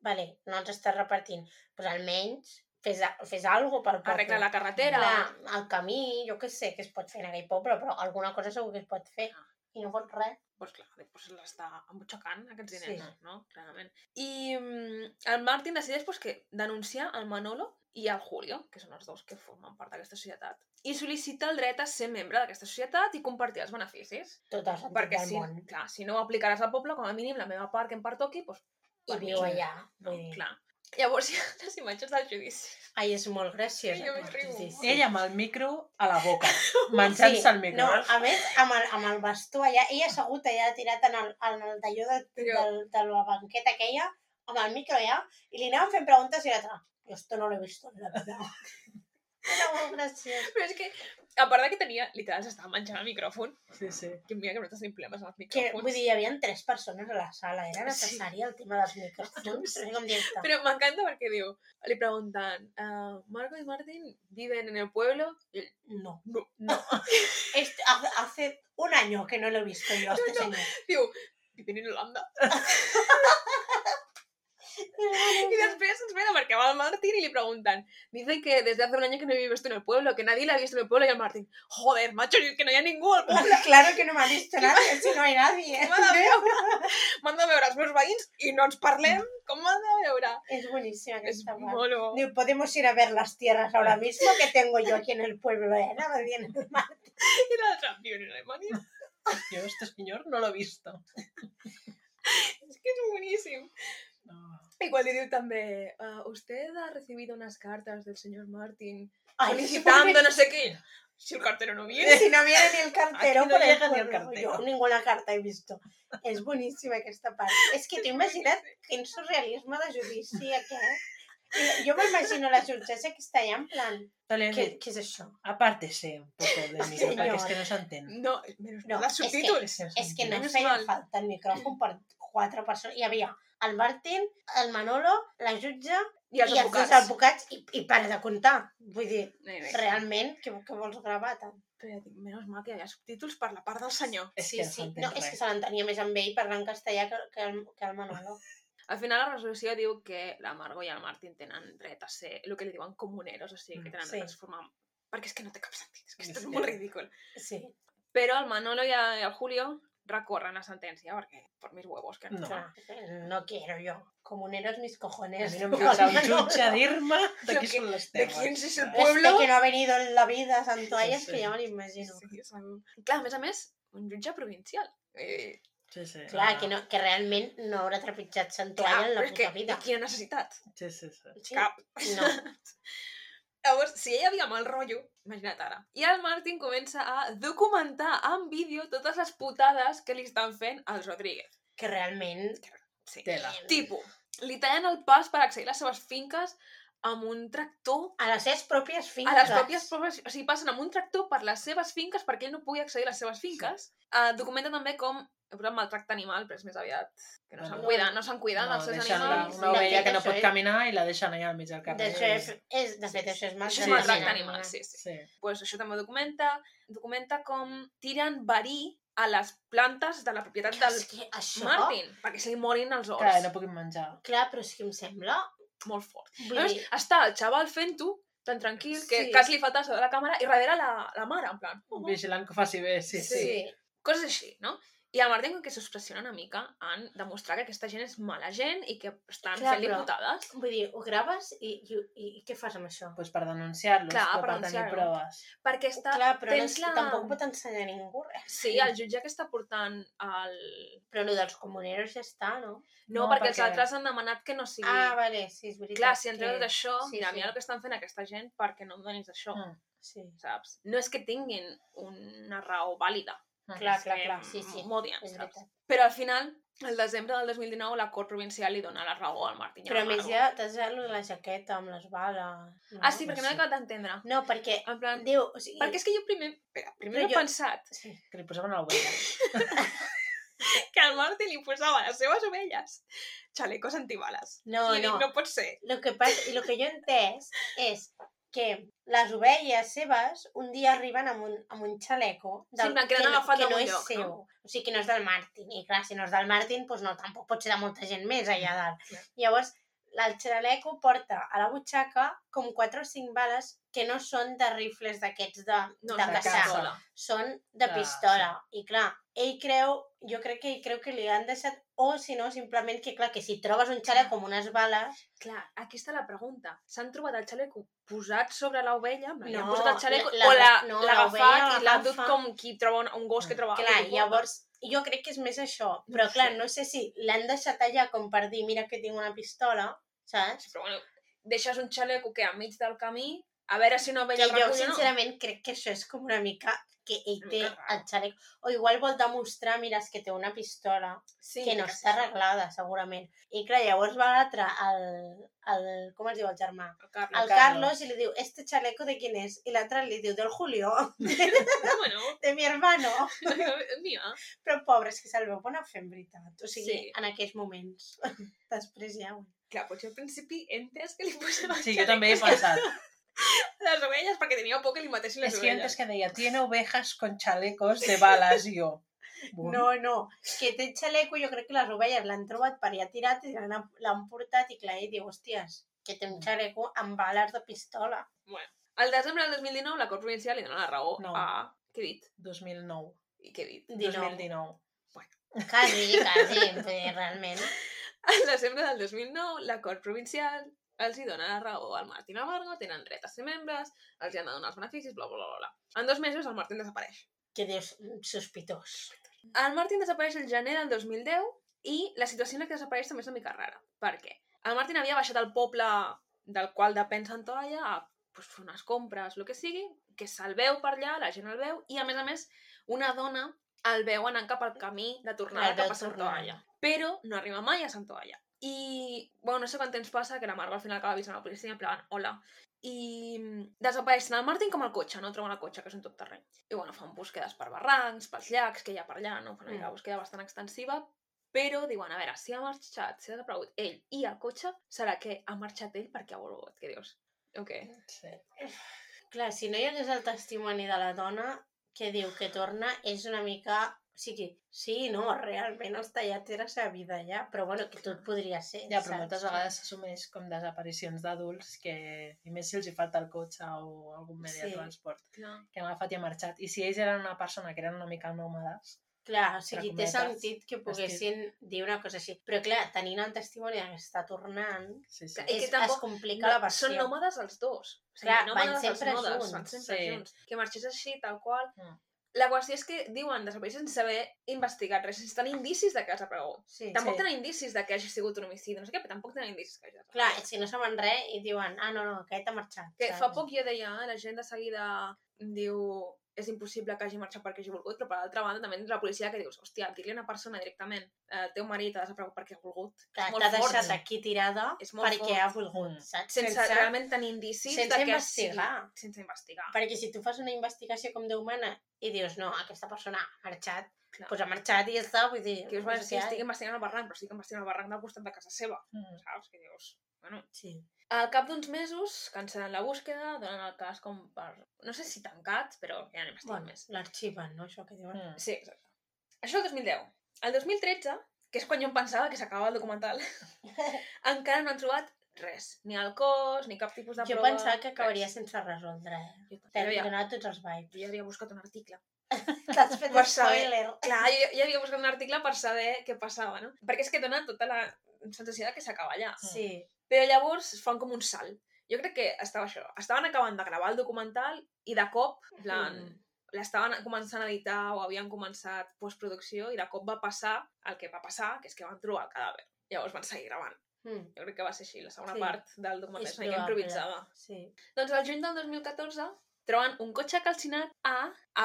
[SPEAKER 2] vale, no ens estàs repartint, doncs almenys fes, a- fes alguna cosa pel poble.
[SPEAKER 4] arregla la carretera.
[SPEAKER 2] Clar, el camí, jo què sé, que es pot fer en aquell poble, però alguna cosa segur que es pot fer. I no pot res.
[SPEAKER 4] Pues clar, després l'està embutxacant,
[SPEAKER 2] Sí.
[SPEAKER 4] aquests diners, sí. no? Clarament. I mm, el Martin decideix pues, que denunciar el Manolo i el Julio, que són els dos que formen part d'aquesta societat, i sol·licita el dret a ser membre d'aquesta societat i compartir els beneficis.
[SPEAKER 2] Tot el sentit
[SPEAKER 4] Perquè
[SPEAKER 2] del
[SPEAKER 4] si,
[SPEAKER 2] món.
[SPEAKER 4] clar, si no ho aplicaràs al poble, com a mínim la meva part que em pertoqui, doncs,
[SPEAKER 2] I
[SPEAKER 4] per mi,
[SPEAKER 2] viu allà.
[SPEAKER 4] No,
[SPEAKER 2] vull dir.
[SPEAKER 4] clar. Llavors hi ha les imatges del judici.
[SPEAKER 2] Ai, és molt graciós. eh?
[SPEAKER 4] Sí, jo me'n riu.
[SPEAKER 3] Ell amb el micro a la boca, menjant-se el micro. eh?
[SPEAKER 2] No, a més, amb el, amb el bastó allà, ell assegut allà tirat en el, en el talló de,
[SPEAKER 4] Però-
[SPEAKER 2] del, de la banqueta aquella, amb el micro allà, i li anaven fent preguntes i l'altre, "Ah, jo esto no lo he visto en la vida. Era molt graciós.
[SPEAKER 4] Però és que, a part de que tenia, literal, s'estava menjant el micròfon,
[SPEAKER 3] Sí, sí.
[SPEAKER 4] que mira que nosaltres tenim problemes amb els
[SPEAKER 2] Que,
[SPEAKER 4] micròfons.
[SPEAKER 2] vull dir, hi havia tres persones a la sala, era
[SPEAKER 4] Sí.
[SPEAKER 2] necessari el tema dels micròfons, no sé com dir-te.
[SPEAKER 4] Pero me encanta porque digo, le preguntan, ah, ¿Marco y Martin viven en el pueblo? Y él,
[SPEAKER 2] No.
[SPEAKER 4] no, no.
[SPEAKER 2] Este- hace- hace un año que no lo he visto yo a este señor.
[SPEAKER 4] Digo, viven en Holanda. Y después ens ven a marcar al Martin y le preguntan, dicen que desde hace un año que no vives tú en el pueblo, que nadie la ha visto en el pueblo. Y el Martín, joder, macho, que no haya ninguno. al pueblo.
[SPEAKER 2] Claro que no me ha visto nadie, si no hay nadie. ¿eh?
[SPEAKER 4] M'ha de veure. M'han de veure els meus veïns i no ens parlem. Com m'ha de veure?
[SPEAKER 2] És boníssima Mm.
[SPEAKER 4] És
[SPEAKER 2] aquesta part.
[SPEAKER 4] molt bo.
[SPEAKER 2] Digo, podemos ir a ver las tierras ahora mismo que tengo yo aquí en el pueblo, ¿eh? Nada bien.
[SPEAKER 4] I l'altre, viuen en Alemanya.
[SPEAKER 3] Yo este señor no lo he visto.
[SPEAKER 4] És que és boníssim.
[SPEAKER 3] No.
[SPEAKER 4] Igual li diu també, "Ah, usted ha recibido unas cartas del señor Martin
[SPEAKER 2] sí,
[SPEAKER 4] solicitando no sé qué. Si el cartero no
[SPEAKER 2] porque
[SPEAKER 4] viene.
[SPEAKER 2] Si no viene ni el cartero,
[SPEAKER 3] Aquí no
[SPEAKER 2] por el
[SPEAKER 3] llega ni el
[SPEAKER 2] pueblo.
[SPEAKER 3] cartero.
[SPEAKER 2] Jo ninguna carta he visto. És boníssima aquesta part. És que t'ho imagina't quin surrealisme de judici aquest. I Jo m'imagino la jutgessa que està allà en plan...
[SPEAKER 3] No le
[SPEAKER 2] Què, què és això?
[SPEAKER 3] Apártese un poco del micro, para que es que no se entena.
[SPEAKER 4] No, menos
[SPEAKER 2] No,
[SPEAKER 4] no,
[SPEAKER 2] es
[SPEAKER 4] las
[SPEAKER 2] que-
[SPEAKER 4] subtítols.
[SPEAKER 2] És que no
[SPEAKER 4] Menys
[SPEAKER 2] feia
[SPEAKER 4] mal.
[SPEAKER 2] falta el micròfon per quatre persones. Hi havia el Martín, el Manolo, la jutge
[SPEAKER 4] I els
[SPEAKER 2] i els dos advocats
[SPEAKER 4] advocats.
[SPEAKER 2] i, i para de comptar. Vull dir,
[SPEAKER 4] Nei, nei.
[SPEAKER 2] Realment, que, que vols gravar tant?
[SPEAKER 4] Però dic, menys mal que hi ha subtítols per la part del senyor.
[SPEAKER 3] Es que no se
[SPEAKER 2] No, és que se l'entenia més amb ell parlant castellà que, que, el, que el Manolo.
[SPEAKER 4] Al final la resolució diu que la Margo i el Martin tenen dret a ser el que li diuen comuneros, o sigui, que
[SPEAKER 3] Mm,
[SPEAKER 4] tenen
[SPEAKER 2] sí.
[SPEAKER 4] dret a formar... Perquè és que no té cap sentit, és que
[SPEAKER 3] Sí,
[SPEAKER 4] esto és
[SPEAKER 3] sí.
[SPEAKER 4] molt ridícul.
[SPEAKER 2] Sí.
[SPEAKER 4] Però el Manolo i el Julio recorren a sentència perquè per mis huevos que no.
[SPEAKER 3] No.
[SPEAKER 2] Clar, No quiero yo. Comuneros mis cojones.
[SPEAKER 3] A mi no em posa un jutge a dir-me de
[SPEAKER 4] Però
[SPEAKER 3] qui
[SPEAKER 4] que-
[SPEAKER 3] són les
[SPEAKER 4] de
[SPEAKER 3] teves.
[SPEAKER 4] quién es ese
[SPEAKER 2] Este
[SPEAKER 4] pueblo.
[SPEAKER 2] que no ha venido en la vida, Santoallas,
[SPEAKER 3] Sí, sí.
[SPEAKER 2] que ja me l'imagino.
[SPEAKER 4] Sí, és el- Clar, a més a més, un jutge provincial. Eh,
[SPEAKER 3] Sí, sí.
[SPEAKER 2] Clar, que, no, que realment no haurà trepitjat
[SPEAKER 4] clar,
[SPEAKER 2] Santoalla en la
[SPEAKER 4] però és que,
[SPEAKER 2] puta vida.
[SPEAKER 4] i quina necessitat?
[SPEAKER 3] Sí, sí, sí.
[SPEAKER 2] Sí,
[SPEAKER 4] Cap.
[SPEAKER 2] No,
[SPEAKER 4] Llavors, si ja hi havia mal rotllo, imagina't ara. I el Martin comença a documentar en vídeo totes les putades que li estan fent als Rodríguez.
[SPEAKER 2] que realment...
[SPEAKER 4] Sí.
[SPEAKER 3] Tela.
[SPEAKER 2] Mm.
[SPEAKER 4] Tipo, li tallen el pas per accedir a les seves finques amb un tractor
[SPEAKER 2] A les seves pròpies
[SPEAKER 4] a
[SPEAKER 2] finques.
[SPEAKER 4] les pròpies proves, o sigui, passen amb un tractor per les seves finques perquè ell no pugui accedir a les seves finques. Uh, documenta també com però maltracte animal, però és més aviat que no
[SPEAKER 3] Bueno.
[SPEAKER 4] se'n cuida, no se'n cuida dels seus
[SPEAKER 3] deixen la-
[SPEAKER 4] animals. eh?
[SPEAKER 2] sí.
[SPEAKER 3] Una ovella que no
[SPEAKER 2] Això
[SPEAKER 3] pot
[SPEAKER 2] és-
[SPEAKER 3] caminar i la deixen allà al mig del carrer.
[SPEAKER 2] D'això és, és, de fet, això és
[SPEAKER 4] Això
[SPEAKER 2] maltracte
[SPEAKER 4] és maltracte animal, sí, sí.
[SPEAKER 3] Sí.
[SPEAKER 4] Pues això també ho documenta. Documenta com tiren verí a les plantes de la propietat del
[SPEAKER 2] És que això...
[SPEAKER 4] Martin, perquè se li morin els horts.
[SPEAKER 3] Clar, no puguin menjar.
[SPEAKER 2] Clar, però és que em sembla...
[SPEAKER 4] Molt fort.
[SPEAKER 2] Vull
[SPEAKER 4] A més,
[SPEAKER 2] dir,
[SPEAKER 4] està el xaval fent-ho, tan tranquil, que
[SPEAKER 2] Sí.
[SPEAKER 4] quasi li falta de la càmera, i darrere la, la mare, en plan... "Oh,
[SPEAKER 3] Vigilant que ho faci bé, sí,
[SPEAKER 2] sí.
[SPEAKER 3] sí.
[SPEAKER 4] coses així, no? I el Martin com que s'obsessiona una mica en demostrar que aquesta gent és mala gent i que estan
[SPEAKER 2] Clar,
[SPEAKER 4] fent-li
[SPEAKER 2] però-
[SPEAKER 4] putades.
[SPEAKER 2] Vull dir, ho graves i, i, i, i què fas amb això?
[SPEAKER 3] Doncs per denunciar-los,
[SPEAKER 4] Clar,
[SPEAKER 3] però
[SPEAKER 4] per
[SPEAKER 3] per, tenir
[SPEAKER 4] denunciar-los.
[SPEAKER 3] proves.
[SPEAKER 4] Perquè està...
[SPEAKER 2] Oh, Clar, però no
[SPEAKER 4] tens
[SPEAKER 2] és,
[SPEAKER 4] la-
[SPEAKER 2] tampoc pot ensenyar a ningú res.
[SPEAKER 4] Sí, el jutge que està portant el...
[SPEAKER 2] Però el dels comuneros ja està, no?
[SPEAKER 4] No,
[SPEAKER 3] No,
[SPEAKER 4] perquè, els
[SPEAKER 3] perquè-
[SPEAKER 4] altres han demanat que no sigui...
[SPEAKER 2] Ah, vale, sí, és veritat.
[SPEAKER 4] Clar, si entreu
[SPEAKER 2] que-
[SPEAKER 4] tot això,
[SPEAKER 2] sí,
[SPEAKER 4] mira,
[SPEAKER 2] sí.
[SPEAKER 4] mira el que estan fent aquesta gent perquè no em donis això,
[SPEAKER 3] Mm.
[SPEAKER 2] Sí.
[SPEAKER 4] saps? No és que tinguin una raó vàlida.
[SPEAKER 2] Clar,
[SPEAKER 4] és
[SPEAKER 2] clar,
[SPEAKER 4] que
[SPEAKER 2] clar, Mm. sí, sí.
[SPEAKER 4] m'odien,
[SPEAKER 2] És
[SPEAKER 4] saps?
[SPEAKER 2] veritat.
[SPEAKER 4] Però al final, el desembre del 2019, la Cort Provincial li dona la raó al Martín. i a
[SPEAKER 2] Però
[SPEAKER 4] la
[SPEAKER 2] a més
[SPEAKER 4] Maru.
[SPEAKER 2] ja t'has de lo de la jaqueta amb les bales. No?
[SPEAKER 4] Ah, sí, perquè
[SPEAKER 3] Sí.
[SPEAKER 4] no he acabat d'entendre.
[SPEAKER 2] No, perquè...
[SPEAKER 4] En plan,
[SPEAKER 2] Déu, o sigui...
[SPEAKER 4] Perquè és que jo primer, espera, primer
[SPEAKER 2] Però
[SPEAKER 4] he
[SPEAKER 2] jo-
[SPEAKER 4] pensat
[SPEAKER 2] Sí.
[SPEAKER 3] Que li posaven a l'ovella.
[SPEAKER 4] que al Martin li posava a les seves ovelles xalecos antibales.
[SPEAKER 2] No,
[SPEAKER 4] I dic,
[SPEAKER 2] no.
[SPEAKER 4] no pot ser.
[SPEAKER 2] Lo que passa, i el que jo he entès és que les ovelles seves un dia arriben amb un, amb un xaleco
[SPEAKER 4] Sí, en plan, que l'han agafat
[SPEAKER 2] que
[SPEAKER 4] d'algun
[SPEAKER 2] no és
[SPEAKER 4] lloc, no?
[SPEAKER 2] seu. O sigui, que no és del Martin. I clar, si no és del Martin, doncs no, tampoc pot ser de molta gent més allà
[SPEAKER 4] Mm,
[SPEAKER 2] dalt. Llavors, el xaleco porta a la butxaca com quatre o cinc bales que no són de rifles d'aquests de,
[SPEAKER 4] No,
[SPEAKER 2] de
[SPEAKER 4] és
[SPEAKER 3] de
[SPEAKER 2] caçar.
[SPEAKER 3] caça.
[SPEAKER 2] són de
[SPEAKER 3] Ah,
[SPEAKER 2] pistola. I clar, ell creu, jo crec que ell creu que li han deixat, o si no, simplement que clar, que si trobes un
[SPEAKER 4] Mm.
[SPEAKER 2] xalec com unes bales...
[SPEAKER 4] Clar, aquí està la pregunta. S'han trobat el xaleco posat sobre l'ovella? No,
[SPEAKER 2] No,
[SPEAKER 4] han posat el xaleco
[SPEAKER 2] la-
[SPEAKER 4] o la,
[SPEAKER 2] la- no,
[SPEAKER 4] l'ha
[SPEAKER 2] l'ovella
[SPEAKER 4] agafat i l'ha
[SPEAKER 2] l'agafa.
[SPEAKER 4] dut com qui troba un, un gos que
[SPEAKER 3] Mm.
[SPEAKER 4] troba...
[SPEAKER 2] Clar,
[SPEAKER 4] i
[SPEAKER 2] llavors, jo crec que és més això. Però
[SPEAKER 4] ho
[SPEAKER 2] clar,
[SPEAKER 4] sé.
[SPEAKER 2] no sé si l'han deixat allà com per dir, mira que tinc una pistola, saps?
[SPEAKER 4] Però bueno, deixes un xaleco que a mig del camí, a veure si una
[SPEAKER 2] Que
[SPEAKER 4] ovella el
[SPEAKER 2] jo,
[SPEAKER 4] recull o no.
[SPEAKER 2] sincerament, crec que això és com una mica que ell
[SPEAKER 4] Una
[SPEAKER 2] té
[SPEAKER 4] mica raro.
[SPEAKER 2] el xalec. O igual vol demostrar, mira, és que té una pistola.
[SPEAKER 4] Sí,
[SPEAKER 2] que no
[SPEAKER 4] que
[SPEAKER 2] està
[SPEAKER 4] sí.
[SPEAKER 2] arreglada, segurament. I clar, llavors va l'altre, el, el... Com es diu el germà?
[SPEAKER 4] El Carles.
[SPEAKER 2] al Carlos y le digo, ¿este chaleco de quién es? Y la otra le digo, del Julio, Ah.
[SPEAKER 4] Bueno,
[SPEAKER 2] de mi hermano.
[SPEAKER 4] mira.
[SPEAKER 2] Però pobre, és que se'l veu bona fent veritat. O sigui,
[SPEAKER 4] Sí.
[SPEAKER 2] sí. en aquells moments. Després ja... bueno.
[SPEAKER 4] Clar, potser al principi he entès que li posava el
[SPEAKER 3] Sí, jo també he
[SPEAKER 4] xaleco
[SPEAKER 3] pensat.
[SPEAKER 4] les ovelles perquè tenia por que li matessin les
[SPEAKER 3] És que jo
[SPEAKER 4] ovelles.
[SPEAKER 3] antes que deia, tiene ovejas con chalecos de balas, i jo.
[SPEAKER 2] No, no, que té xaleco, jo crec que les ovelles l'han trobat per allà tirat i l'han l'han portat i clar, ell diu, hòsties, Mm. que té un xaleco amb bales de pistola.
[SPEAKER 4] Al desembre del 2019, la Cort Provincial li dona la raó
[SPEAKER 3] No.
[SPEAKER 4] a... Què he dit?
[SPEAKER 3] 2009.
[SPEAKER 4] I què he dit?
[SPEAKER 2] Dinou.
[SPEAKER 3] 2019.
[SPEAKER 2] Quasi, quasi, vull dir, realment.
[SPEAKER 4] Al desembre del 2009, la Cort Provincial els hi dona la raó al Martín Amargo, tenen dret a ser membres, els hi han de donar els beneficis, bla, bla, bla, bla. En dos mesos, el Martín desapareix.
[SPEAKER 2] Que dius, "Mm, sospitós.
[SPEAKER 4] El Martin desapareix el gener del 2010 i la situació en la que desapareix també és una mica rara. Per què? El Martin havia baixat al poble del qual depèn Santoalla a pues, fer unes compres, el que sigui, que se'l veu per allà, la gent el veu, i a més a més una dona el veu anant cap al camí de tornada
[SPEAKER 2] El veu
[SPEAKER 4] cap a Santoalla.
[SPEAKER 2] tornant.
[SPEAKER 4] Però no arriba mai a Santoalla. I, bueno, no sé quant temps passa que la Margo al final acaba avisant la policia en plan, hola. I mm, desapareix tant el Martin com el cotxe, no troben el cotxe, que és un tot terreny. I bueno, fan búsquedes per barrancs, pels llacs, que hi ha per allà, no? Fan una
[SPEAKER 2] Mm.
[SPEAKER 4] mm. búsqueda bastant extensiva, però diuen, a veure, si ha marxat, si ha desaparegut ell i el cotxe, serà que ha marxat ell perquè ha volgut, què dius? O què?
[SPEAKER 3] Sí.
[SPEAKER 2] Clar, si no hi hagués el testimoni de la dona que diu que torna, és una mica... O sigui, sí, no, realment els tallats era la seva vida ja, però bueno, que tot podria ser,
[SPEAKER 3] Ja, però
[SPEAKER 2] saps?
[SPEAKER 3] moltes vegades s'assumeix com desaparicions d'adults que, i més si els hi falta el cotxe o algun medi
[SPEAKER 2] Sí.
[SPEAKER 3] de transport,
[SPEAKER 4] Clar.
[SPEAKER 3] que han agafat i ha marxat. I si ells eren una persona que eren una mica nòmades,
[SPEAKER 2] Clar, o sigui, té
[SPEAKER 3] cometes,
[SPEAKER 2] sentit que poguessin dir una cosa així. Però clar, tenint el testimoni que està tornant,
[SPEAKER 3] Sí, sí.
[SPEAKER 2] que
[SPEAKER 4] I que
[SPEAKER 2] és,
[SPEAKER 4] tampoc-
[SPEAKER 2] es complica la versió.
[SPEAKER 4] Són nòmades els dos. O sigui,
[SPEAKER 2] Clar, van
[SPEAKER 4] nòmades els
[SPEAKER 2] sempre
[SPEAKER 4] nodes,
[SPEAKER 2] junts,
[SPEAKER 4] Van sempre
[SPEAKER 3] sí.
[SPEAKER 4] junts. Que marxés així, tal qual.
[SPEAKER 3] Mm.
[SPEAKER 4] La qüestió és que diuen desapareix sense haver investigat res, sense tenir indicis de que ha desaparegut.
[SPEAKER 2] Sí.
[SPEAKER 4] Tampoc
[SPEAKER 3] Sí.
[SPEAKER 4] tenen indicis de que hagi sigut un homicidi, no sé què, però tampoc tenen indicis que hagi desaparegut.
[SPEAKER 2] Clar, és que no saben res i diuen, ah, no, no, aquest ha marxat.
[SPEAKER 4] Que
[SPEAKER 2] saps?
[SPEAKER 4] fa poc jo deia, eh, la gent de seguida diu és impossible que hagi marxat perquè hagi volgut, però per l'altra banda també tens la policia que dius, hòstia, dir-li a una persona directament eh, teu marit ha desaparegut perquè ha volgut.
[SPEAKER 2] Que
[SPEAKER 4] és molt
[SPEAKER 2] t'ha
[SPEAKER 4] fort.
[SPEAKER 2] deixat aquí tirada
[SPEAKER 4] És molt
[SPEAKER 2] perquè
[SPEAKER 4] fort.
[SPEAKER 2] ha volgut,
[SPEAKER 3] Mm.
[SPEAKER 2] saps?
[SPEAKER 4] Sense, sense realment tenir indicis
[SPEAKER 2] sense
[SPEAKER 4] de que
[SPEAKER 2] investigar.
[SPEAKER 4] Sí, sense investigar.
[SPEAKER 2] Perquè si tu fas una investigació com Déu mana i dius, no, aquesta persona ha marxat, doncs
[SPEAKER 4] Clar.
[SPEAKER 2] pues ha marxat i ja està, vull dir...
[SPEAKER 4] que us
[SPEAKER 2] no
[SPEAKER 4] va
[SPEAKER 2] sé
[SPEAKER 4] dir, sí,
[SPEAKER 2] què
[SPEAKER 4] estic
[SPEAKER 2] hi ha".
[SPEAKER 4] investigant el barranc, però estic investigant el barranc del costat de casa seva,
[SPEAKER 3] Mm.
[SPEAKER 4] saps? Que dius, bueno...
[SPEAKER 2] Sí.
[SPEAKER 4] Al cap d'uns mesos, cancel·len la búsqueda, donen el cas com per... No sé si tancat, però ja no n'investiguen
[SPEAKER 2] Bueno,
[SPEAKER 4] més.
[SPEAKER 2] l'arxiven, no?, això que diuen.
[SPEAKER 3] Mm.
[SPEAKER 4] Sí, exacte. Això el 2010. El 2013, que és quan jo em pensava que s'acabava el documental, encara no han trobat res. Ni el cos, ni cap tipus de
[SPEAKER 2] Jo
[SPEAKER 4] prova.
[SPEAKER 2] pensava que acabaria
[SPEAKER 4] res.
[SPEAKER 2] sense resoldre, eh?
[SPEAKER 4] Jo, jo,
[SPEAKER 2] T'he
[SPEAKER 4] havia,
[SPEAKER 2] donat tots els
[SPEAKER 4] jo ja
[SPEAKER 2] vibes.
[SPEAKER 4] havia buscat un article.
[SPEAKER 2] T'has fet
[SPEAKER 4] Per
[SPEAKER 2] un
[SPEAKER 4] saber.
[SPEAKER 2] spoiler.
[SPEAKER 4] Clar, jo ja havia buscat un article per saber què passava, no? Perquè és que dona tota la sensació de que s'acaba allà.
[SPEAKER 2] Sí.
[SPEAKER 4] Però llavors fan com un salt. Jo crec que estava això. Estaven acabant de gravar el documental i de cop, en plan,
[SPEAKER 2] Mm.
[SPEAKER 4] l'estaven començant a editar o havien començat postproducció i de cop va passar el que va passar, que és que van trobar el cadàver. Llavors van seguir gravant.
[SPEAKER 2] Mm.
[SPEAKER 4] Jo crec que va ser així, la segona
[SPEAKER 2] Sí.
[SPEAKER 4] sí. part del documental.
[SPEAKER 2] És
[SPEAKER 4] És una mica
[SPEAKER 2] probable.
[SPEAKER 4] improvisada.
[SPEAKER 2] Sí.
[SPEAKER 4] Doncs al juny del 2014 troben un cotxe calcinat a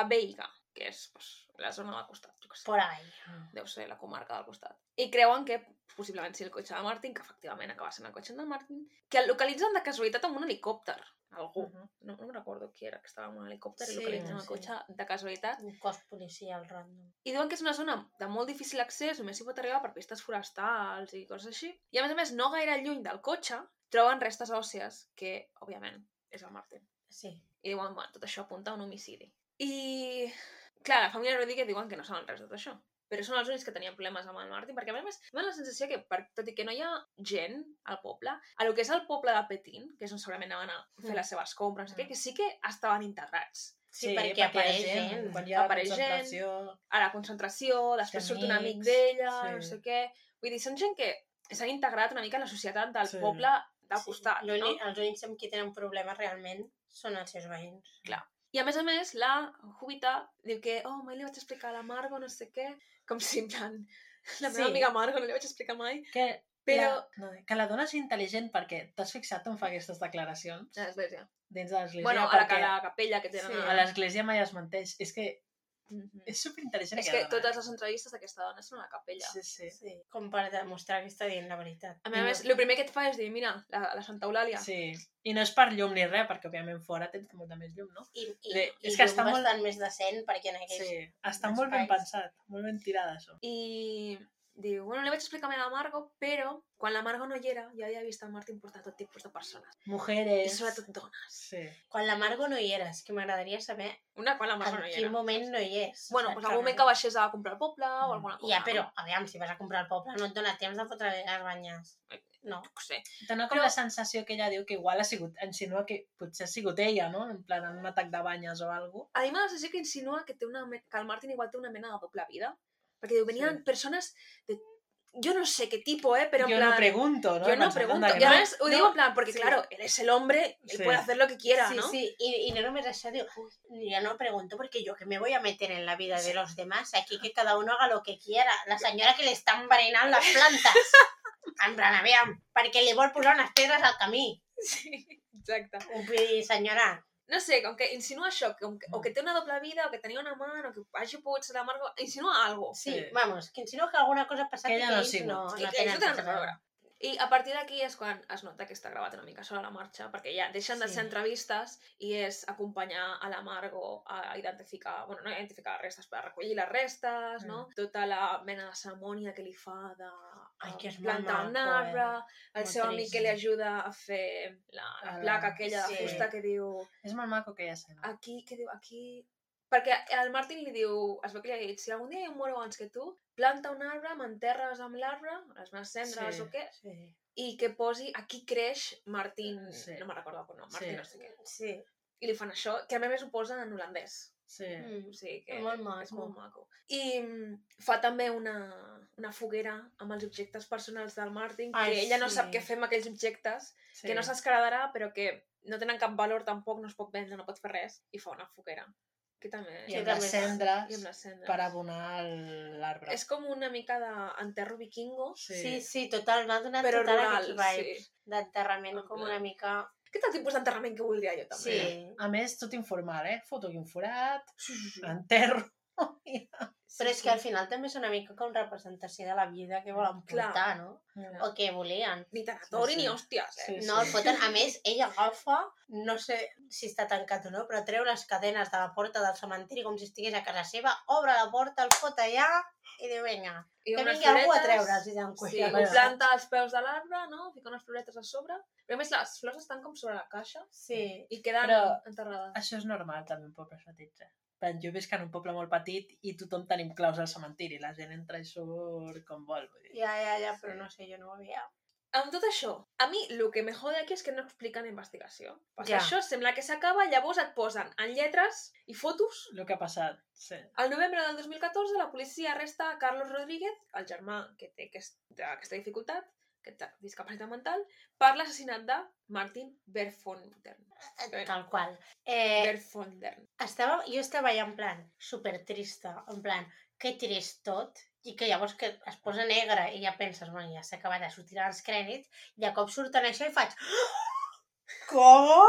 [SPEAKER 4] Abeiga, que és pues, la zona del costat, jo què sé
[SPEAKER 2] Por ahí.
[SPEAKER 4] deu ser la comarca del costat. I creuen que possiblement sigui el cotxe de Martin, que efectivament acaba sent el cotxe del Martin, que el localitzen de casualitat amb un helicòpter. Algú.
[SPEAKER 3] Mhm.
[SPEAKER 4] No, no me'n recordo qui era, que estava en un helicòpter
[SPEAKER 2] Sí,
[SPEAKER 4] i localitzen el
[SPEAKER 2] sí.
[SPEAKER 4] cotxe de casualitat.
[SPEAKER 2] Un cos policial random.
[SPEAKER 4] I diuen que és una zona de molt difícil accés, només s'hi pot arribar per pistes forestals i coses així. I a més a més, no gaire lluny del cotxe, troben restes òssies, que, òbviament, és el Martin.
[SPEAKER 2] Sí.
[SPEAKER 4] I diuen, bueno, tot això apunta a un homicidi. I, clar, la família Rodríguez diuen que no saben res de tot això. Però són els únics que tenien problemes amb el Martin, perquè a més a més, em dóna la sensació que, per, tot i que no hi ha gent al poble, a lo que és el poble de Petín, que és on segurament anaven
[SPEAKER 3] Mm.
[SPEAKER 4] a fer les seves compres, no sé què, que sí que estaven integrats.
[SPEAKER 2] Sí, perquè apareix gent.
[SPEAKER 3] Quan hi ha
[SPEAKER 4] Apareix
[SPEAKER 3] apareix
[SPEAKER 4] gent.
[SPEAKER 3] concentració...
[SPEAKER 4] A la concentració, després surt un amic
[SPEAKER 3] amics,
[SPEAKER 4] d'ella,
[SPEAKER 3] sí.
[SPEAKER 4] no sé què... Vull dir, són gent que s'han integrat una mica en la societat del
[SPEAKER 3] Sí.
[SPEAKER 4] poble del costat,
[SPEAKER 2] l'únic-
[SPEAKER 4] no?
[SPEAKER 2] Els únics amb qui tenen problemes realment són els seus veïns.
[SPEAKER 4] I a més a més, la Júbita diu que, oh, mai li vaig explicar a la Margo no sé què, com si en plan, la meva
[SPEAKER 3] Sí.
[SPEAKER 4] amiga Margo no li vaig explicar mai,
[SPEAKER 3] Que,
[SPEAKER 4] però...
[SPEAKER 3] la, no, que la dona és intel·ligent perquè t'has fixat on fa aquestes declaracions
[SPEAKER 4] A l'església.
[SPEAKER 3] dins de l'església
[SPEAKER 4] Bueno, a la,
[SPEAKER 3] perquè
[SPEAKER 4] a la capella que tenen.
[SPEAKER 2] Sí,
[SPEAKER 4] Sí,
[SPEAKER 3] a
[SPEAKER 4] a la...
[SPEAKER 3] l'església mai es menteix. És que
[SPEAKER 4] Mhm.
[SPEAKER 3] és superintel·ligent
[SPEAKER 4] És que totes les entrevistes d'aquesta dona són a la capella.
[SPEAKER 3] Sí, sí.
[SPEAKER 2] Sí. Com per demostrar que està dient la veritat.
[SPEAKER 4] A més a més, el primer que et fa és dir, mira, la, la Santa Eulàlia.
[SPEAKER 3] Sí. I no és per llum ni res, perquè òbviament fora tens molta més llum, no?
[SPEAKER 2] I, i,
[SPEAKER 3] Bé,
[SPEAKER 2] i
[SPEAKER 3] és que
[SPEAKER 2] llum
[SPEAKER 3] està molt-
[SPEAKER 2] bastant més decent perquè en aquells...
[SPEAKER 3] Sí. Està
[SPEAKER 2] espais.
[SPEAKER 3] molt ben pensat, molt ben tirada, això.
[SPEAKER 4] I diu, bueno, li vaig explicar a la Margo, però quan la Margo no hi era, ja havia vist el Martín portar tot tipus de persones. I
[SPEAKER 3] Mujeres...
[SPEAKER 4] sobretot dones.
[SPEAKER 3] Sí.
[SPEAKER 2] Quan la Margo no hi eres, que m'agradaria saber
[SPEAKER 4] Una quan la
[SPEAKER 2] en
[SPEAKER 4] Margo no hi
[SPEAKER 2] quin
[SPEAKER 4] era.
[SPEAKER 2] moment no hi és.
[SPEAKER 4] Bueno,
[SPEAKER 2] saps?
[SPEAKER 4] pues algun moment que baixés a comprar al poble
[SPEAKER 3] Mm.
[SPEAKER 4] o alguna cosa.
[SPEAKER 2] Ja,
[SPEAKER 4] no?
[SPEAKER 2] però, aviam, si vas a comprar al poble no et dona temps de fotre les banyes. No.
[SPEAKER 4] No sé.
[SPEAKER 3] Dóna com
[SPEAKER 4] Però-
[SPEAKER 3] la sensació que ella diu que igual ha sigut, insinua que potser ha sigut ella, no? En plan, en un atac de banyes o alguna
[SPEAKER 4] A mi m'ha la sensació que insinua que, té una, me- que el Martin igual té una mena de doble vida. Perquè diu, venien
[SPEAKER 3] Sí.
[SPEAKER 4] persones de... Jo no sé qué tipo, eh, pero
[SPEAKER 3] cosa.
[SPEAKER 4] en
[SPEAKER 3] Jo
[SPEAKER 4] plan...
[SPEAKER 3] no pregunto, ¿no?
[SPEAKER 4] Yo no
[SPEAKER 3] Pensando
[SPEAKER 4] pregunto.
[SPEAKER 3] que
[SPEAKER 4] Y
[SPEAKER 3] no.
[SPEAKER 4] además, lo digo
[SPEAKER 2] no,
[SPEAKER 4] en plan, porque
[SPEAKER 2] sí.
[SPEAKER 4] claro, él es el hombre, él
[SPEAKER 3] Sí.
[SPEAKER 4] puede hacer lo que quiera,
[SPEAKER 2] sí,
[SPEAKER 4] ¿no?
[SPEAKER 2] sí, y, y no només això, diu, "Uy, ya no pregunto porque yo que me voy a meter en la vida de los demás, aquí que cada uno haga lo que quiera. La senyora que li està envenenant les plantes. En plan, aviam, perquè li vol posar unes pedres al camí.
[SPEAKER 4] Sí, exacte.
[SPEAKER 2] Vull dir, senyora,
[SPEAKER 4] No sé, com que insinua això, que, com que, o que té una doble vida, o que tenia una mà, o que hagi pogut ser la Margo... Insinua algo.
[SPEAKER 2] sí,
[SPEAKER 3] Sí.
[SPEAKER 2] vamos, que insinua que alguna cosa ha passat
[SPEAKER 3] Que
[SPEAKER 2] i
[SPEAKER 3] ella
[SPEAKER 2] que
[SPEAKER 3] no ha
[SPEAKER 2] ells
[SPEAKER 3] sigut.
[SPEAKER 2] no,
[SPEAKER 4] I
[SPEAKER 2] no
[SPEAKER 4] que ells
[SPEAKER 2] tenen
[SPEAKER 4] no tenen
[SPEAKER 2] res a
[SPEAKER 4] res a
[SPEAKER 2] veure.
[SPEAKER 4] I a partir d'aquí és quan es nota que està gravat una mica sobre la marxa, perquè ja deixen de
[SPEAKER 2] Sí.
[SPEAKER 4] ser entrevistes i és acompanyar a la Margo a identificar, bueno, no a identificar restes, però a recollir les restes, no? Tota la mena de cerimònia que li fa de
[SPEAKER 2] Mm.
[SPEAKER 4] um,
[SPEAKER 2] Ai, que és molt
[SPEAKER 4] plantar un
[SPEAKER 2] maco, eh?
[SPEAKER 4] arbre, el
[SPEAKER 2] Molt
[SPEAKER 4] seu amic
[SPEAKER 2] trist.
[SPEAKER 4] que li ajuda a fer la, la
[SPEAKER 3] A la-
[SPEAKER 4] placa aquella de
[SPEAKER 2] sí.
[SPEAKER 4] fusta que diu
[SPEAKER 3] És molt maco que ella sent.
[SPEAKER 4] aquí, que diu aquí... Perquè el Martin li diu, es veu que li ha dit, si algun dia jo moro abans que tu, planta un arbre, m'enterres amb l'arbre, les meves cendres
[SPEAKER 3] Sí.
[SPEAKER 4] o què,
[SPEAKER 2] Sí,
[SPEAKER 4] i que posi aquí creix Martín,
[SPEAKER 3] Sí.
[SPEAKER 2] Eh,
[SPEAKER 4] sí. no me'n recordo el cognom,
[SPEAKER 3] Sí.
[SPEAKER 4] Martín sí. no sé què.
[SPEAKER 2] sí.
[SPEAKER 4] i li fan això, que a més ho posen en holandès.
[SPEAKER 3] Sí.
[SPEAKER 2] Mm.
[SPEAKER 4] O sigui que
[SPEAKER 2] És molt
[SPEAKER 4] és
[SPEAKER 2] maco.
[SPEAKER 4] molt maco. I mm, fa també una, una foguera amb els objectes personals del Martin, que
[SPEAKER 2] Ai,
[SPEAKER 4] ella no
[SPEAKER 2] sí.
[SPEAKER 4] sap què fer amb aquells objectes,
[SPEAKER 3] sí.
[SPEAKER 4] sí. que no s'escaradarà, però que no tenen cap valor tampoc, no es pot vendre, no pot fer res, i fa una foguera. Que també... eh?
[SPEAKER 3] I
[SPEAKER 2] Sí,
[SPEAKER 3] amb
[SPEAKER 2] també és-
[SPEAKER 3] les
[SPEAKER 4] I
[SPEAKER 3] cendres
[SPEAKER 4] amb les cendres.
[SPEAKER 3] per abonar el- l'arbre.
[SPEAKER 4] És com una mica d'enterro vikingo,
[SPEAKER 3] Sí.
[SPEAKER 2] Sí, sí, total, m'ha donat
[SPEAKER 4] però
[SPEAKER 2] total
[SPEAKER 4] rural,
[SPEAKER 2] aquests
[SPEAKER 4] sí.
[SPEAKER 2] vibes d'enterrament
[SPEAKER 4] En
[SPEAKER 2] com
[SPEAKER 4] plan.
[SPEAKER 2] una mica...
[SPEAKER 4] Aquest és el tipus d'enterrament que voldria jo, també.
[SPEAKER 2] Sí.
[SPEAKER 3] A més, tot informal, eh? Foto aquí un forat,
[SPEAKER 4] Sí, sí, sí.
[SPEAKER 3] enterro...
[SPEAKER 2] Però és que al final també és una mica com representació de la vida que volen
[SPEAKER 4] Clar.
[SPEAKER 2] portar, no? O que volien.
[SPEAKER 4] Ni tanatori
[SPEAKER 3] Sí, sí.
[SPEAKER 4] ni hòsties, eh?
[SPEAKER 3] Sí,
[SPEAKER 2] No, el foten... A més, ella agafa, no sé si està tancat o no, però treu les cadenes de la porta del cementiri com si estigués a casa seva, obre la porta, el fot allà i diu, vinga,
[SPEAKER 4] I
[SPEAKER 2] que
[SPEAKER 4] unes
[SPEAKER 2] vingui algú a
[SPEAKER 4] floretes,
[SPEAKER 2] treure'ls i d'en
[SPEAKER 4] Sí, ho
[SPEAKER 3] Bueno.
[SPEAKER 4] planta als peus de l'arbre, no? Fica unes floretes a sobre. Però a més, les flors estan com sobre la caixa
[SPEAKER 2] Sí.
[SPEAKER 4] i queden
[SPEAKER 3] Però-
[SPEAKER 4] enterrades.
[SPEAKER 3] Això és normal també en pobles petits, eh? Però jo visc en un poble molt petit i tothom tenim claus al cementiri. La gent entra i surt com vol. Vull dir.
[SPEAKER 2] Ja, ja, ja, però no sé, jo no ho havia...
[SPEAKER 4] Amb tot això, a mi el que me jode aquí és que no expliquen investigació. Passa
[SPEAKER 2] Ja.
[SPEAKER 4] ja. això, sembla que s'acaba, llavors et posen en lletres i fotos.
[SPEAKER 3] El que ha passat, sí.
[SPEAKER 4] Al novembre del 2014, la policia arresta a Carlos Rodríguez, el germà que té aquest, aquesta dificultat, aquesta discapacitat mental, per l'assassinat de Martin Berfondern.
[SPEAKER 2] Eh, Tal qual. Eh,
[SPEAKER 4] Berfondern.
[SPEAKER 2] estava, jo estava allà en plan super trista, en plan que trist tot i que llavors que es posa negre i ja penses, bueno, ja s'ha acabat de sortir els crèdits i de cop surten això i faig com?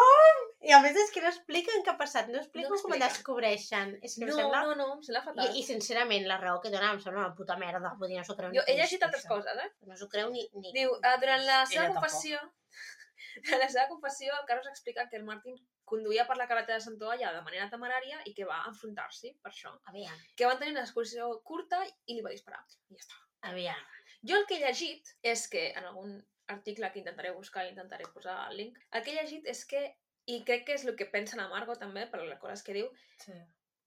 [SPEAKER 2] I a més és que no expliquen què ha passat, no expliquen no com ho
[SPEAKER 4] expliquen.
[SPEAKER 2] descobreixen. És que
[SPEAKER 4] No,
[SPEAKER 2] no, em sembla...
[SPEAKER 4] no, no, em sembla
[SPEAKER 2] I,
[SPEAKER 4] fatal.
[SPEAKER 2] I, sincerament, la raó que dona em sembla una puta merda. Vull dir, no s'ho creu
[SPEAKER 4] Jo,
[SPEAKER 2] ni
[SPEAKER 4] he llegit
[SPEAKER 2] Cristo,
[SPEAKER 4] altres
[SPEAKER 2] això.
[SPEAKER 4] coses, eh?
[SPEAKER 2] No s'ho creu ni... ni
[SPEAKER 4] Diu, eh, durant la
[SPEAKER 3] Ella
[SPEAKER 4] seva
[SPEAKER 3] tampoc.
[SPEAKER 4] confessió... durant la seva confessió, el Carlos explica que el Martin conduïa per la carretera de Santoalla de manera temerària i que va enfrontar-s'hi per això.
[SPEAKER 2] Aviam,
[SPEAKER 4] Que van tenir una discussió curta i li va disparar. I ja està.
[SPEAKER 2] aviam.
[SPEAKER 4] Jo el que he llegit és que, en algun article que intentaré buscar i intentaré posar el link, el que he llegit és que, i crec que és el que pensa la Margo també, per les coses que diu,
[SPEAKER 3] sí.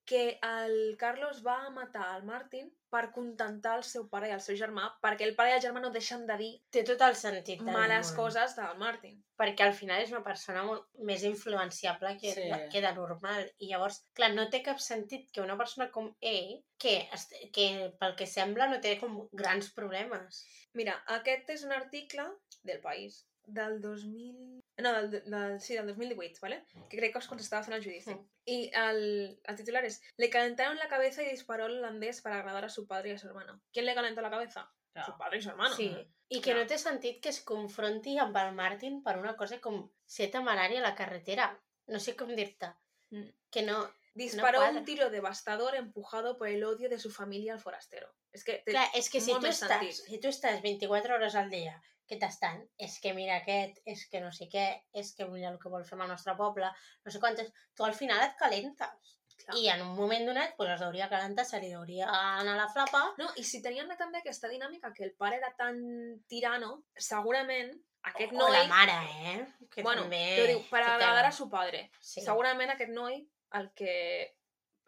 [SPEAKER 4] que el Carlos va matar el Martin per contentar el seu pare i el seu germà, perquè el pare i el germà no deixen de dir
[SPEAKER 2] Té tot el sentit del
[SPEAKER 4] males
[SPEAKER 2] món.
[SPEAKER 4] coses del Martin.
[SPEAKER 2] perquè al final és una persona molt més influenciable que,
[SPEAKER 3] Sí.
[SPEAKER 2] sí. que de normal. I llavors, clar, no té cap sentit que una persona com ell, que, es- que pel que sembla no té com grans problemes.
[SPEAKER 4] Mira, aquest és un article del País del 2000... No, del, del, sí, del 2018, ¿vale? Que crec que és quan s'estava fent el judici.
[SPEAKER 2] Mm.
[SPEAKER 4] I el, el titular és Le calentaron la cabeza y disparó al holandés para agradar a su padre y a su hermano. ¿Quién le calentó la cabeza?
[SPEAKER 3] Clar.
[SPEAKER 4] Su padre y su hermano.
[SPEAKER 2] sí. I que
[SPEAKER 4] clar.
[SPEAKER 2] no. té sentit que es confronti amb el Martin per una cosa com ser temerari a la carretera. No sé com dir-te.
[SPEAKER 4] Mm.
[SPEAKER 2] Que no...
[SPEAKER 4] Disparó
[SPEAKER 2] No cuadra.
[SPEAKER 4] un tiro devastador empujado por el odio de su familia al forastero. És que... Te...
[SPEAKER 2] Clar, és que si
[SPEAKER 4] molt
[SPEAKER 2] tu,
[SPEAKER 4] més
[SPEAKER 2] estàs,
[SPEAKER 4] sentit.
[SPEAKER 2] si tu estàs 24 hores al dia que t'estan, és que mira aquest, és que no sé què, és que mira el que vol fer amb el nostre poble, no sé quantes, tu al final et calentes.
[SPEAKER 4] Clar.
[SPEAKER 2] I en un moment donat, pues, es deuria calentar, se li deuria anar la flapa.
[SPEAKER 4] No, i si tenien també aquesta dinàmica que el pare era tan tirano, segurament aquest
[SPEAKER 2] o la
[SPEAKER 4] noi...
[SPEAKER 2] mare, eh? Que
[SPEAKER 4] bueno,
[SPEAKER 2] també...
[SPEAKER 4] però diu, per
[SPEAKER 2] que té-
[SPEAKER 4] agradar a su padre.
[SPEAKER 2] Sí.
[SPEAKER 4] segurament aquest noi el que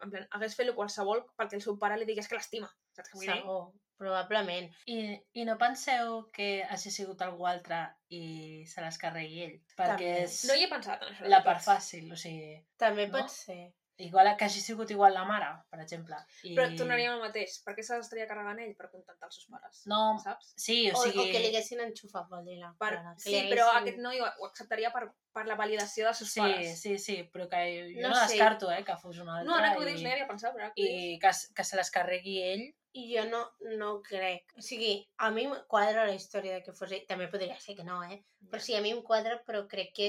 [SPEAKER 4] en plan, hagués fet qualsevol perquè el seu pare li digués que l'estima. Saps què vull dir?
[SPEAKER 2] Segur, probablement.
[SPEAKER 3] I, I no penseu que hagi sigut algú altre i se les carregui ell? Perquè
[SPEAKER 2] També.
[SPEAKER 3] és
[SPEAKER 4] No hi he pensat en això. de
[SPEAKER 3] la part
[SPEAKER 4] veritat.
[SPEAKER 3] fàcil, o sigui...
[SPEAKER 2] També
[SPEAKER 3] No?
[SPEAKER 2] no? pot ser.
[SPEAKER 3] Igual que hagi sigut igual la mare, per exemple. I...
[SPEAKER 4] Però tornaríem al mateix. Per què se l'estaria carregant ell? Per contentar els seus pares.
[SPEAKER 3] No,
[SPEAKER 4] Saps?
[SPEAKER 3] sí, o,
[SPEAKER 2] O,
[SPEAKER 3] sigui...
[SPEAKER 2] o que li haguessin enxufat, vol dir la
[SPEAKER 4] Per...
[SPEAKER 2] paraula, que
[SPEAKER 4] Sí,
[SPEAKER 2] li
[SPEAKER 4] però
[SPEAKER 2] haguessin-
[SPEAKER 4] aquest noi ho, ho acceptaria per, per la validació dels seus
[SPEAKER 3] Sí,
[SPEAKER 4] pares.
[SPEAKER 3] sí, sí, però que jo no,
[SPEAKER 2] No
[SPEAKER 3] no
[SPEAKER 2] sé.
[SPEAKER 3] descarto, eh, que fos un altre.
[SPEAKER 4] No, ara que ho
[SPEAKER 3] i-
[SPEAKER 4] dius, no hi havia pensat, però ara que ho dius...
[SPEAKER 3] i que, s- que se les carregui ell.
[SPEAKER 2] I jo no, no crec. O sigui, a mi em quadra la història de que fos ell. També podria ser que no, eh? Però sí, a mi em quadra, però crec que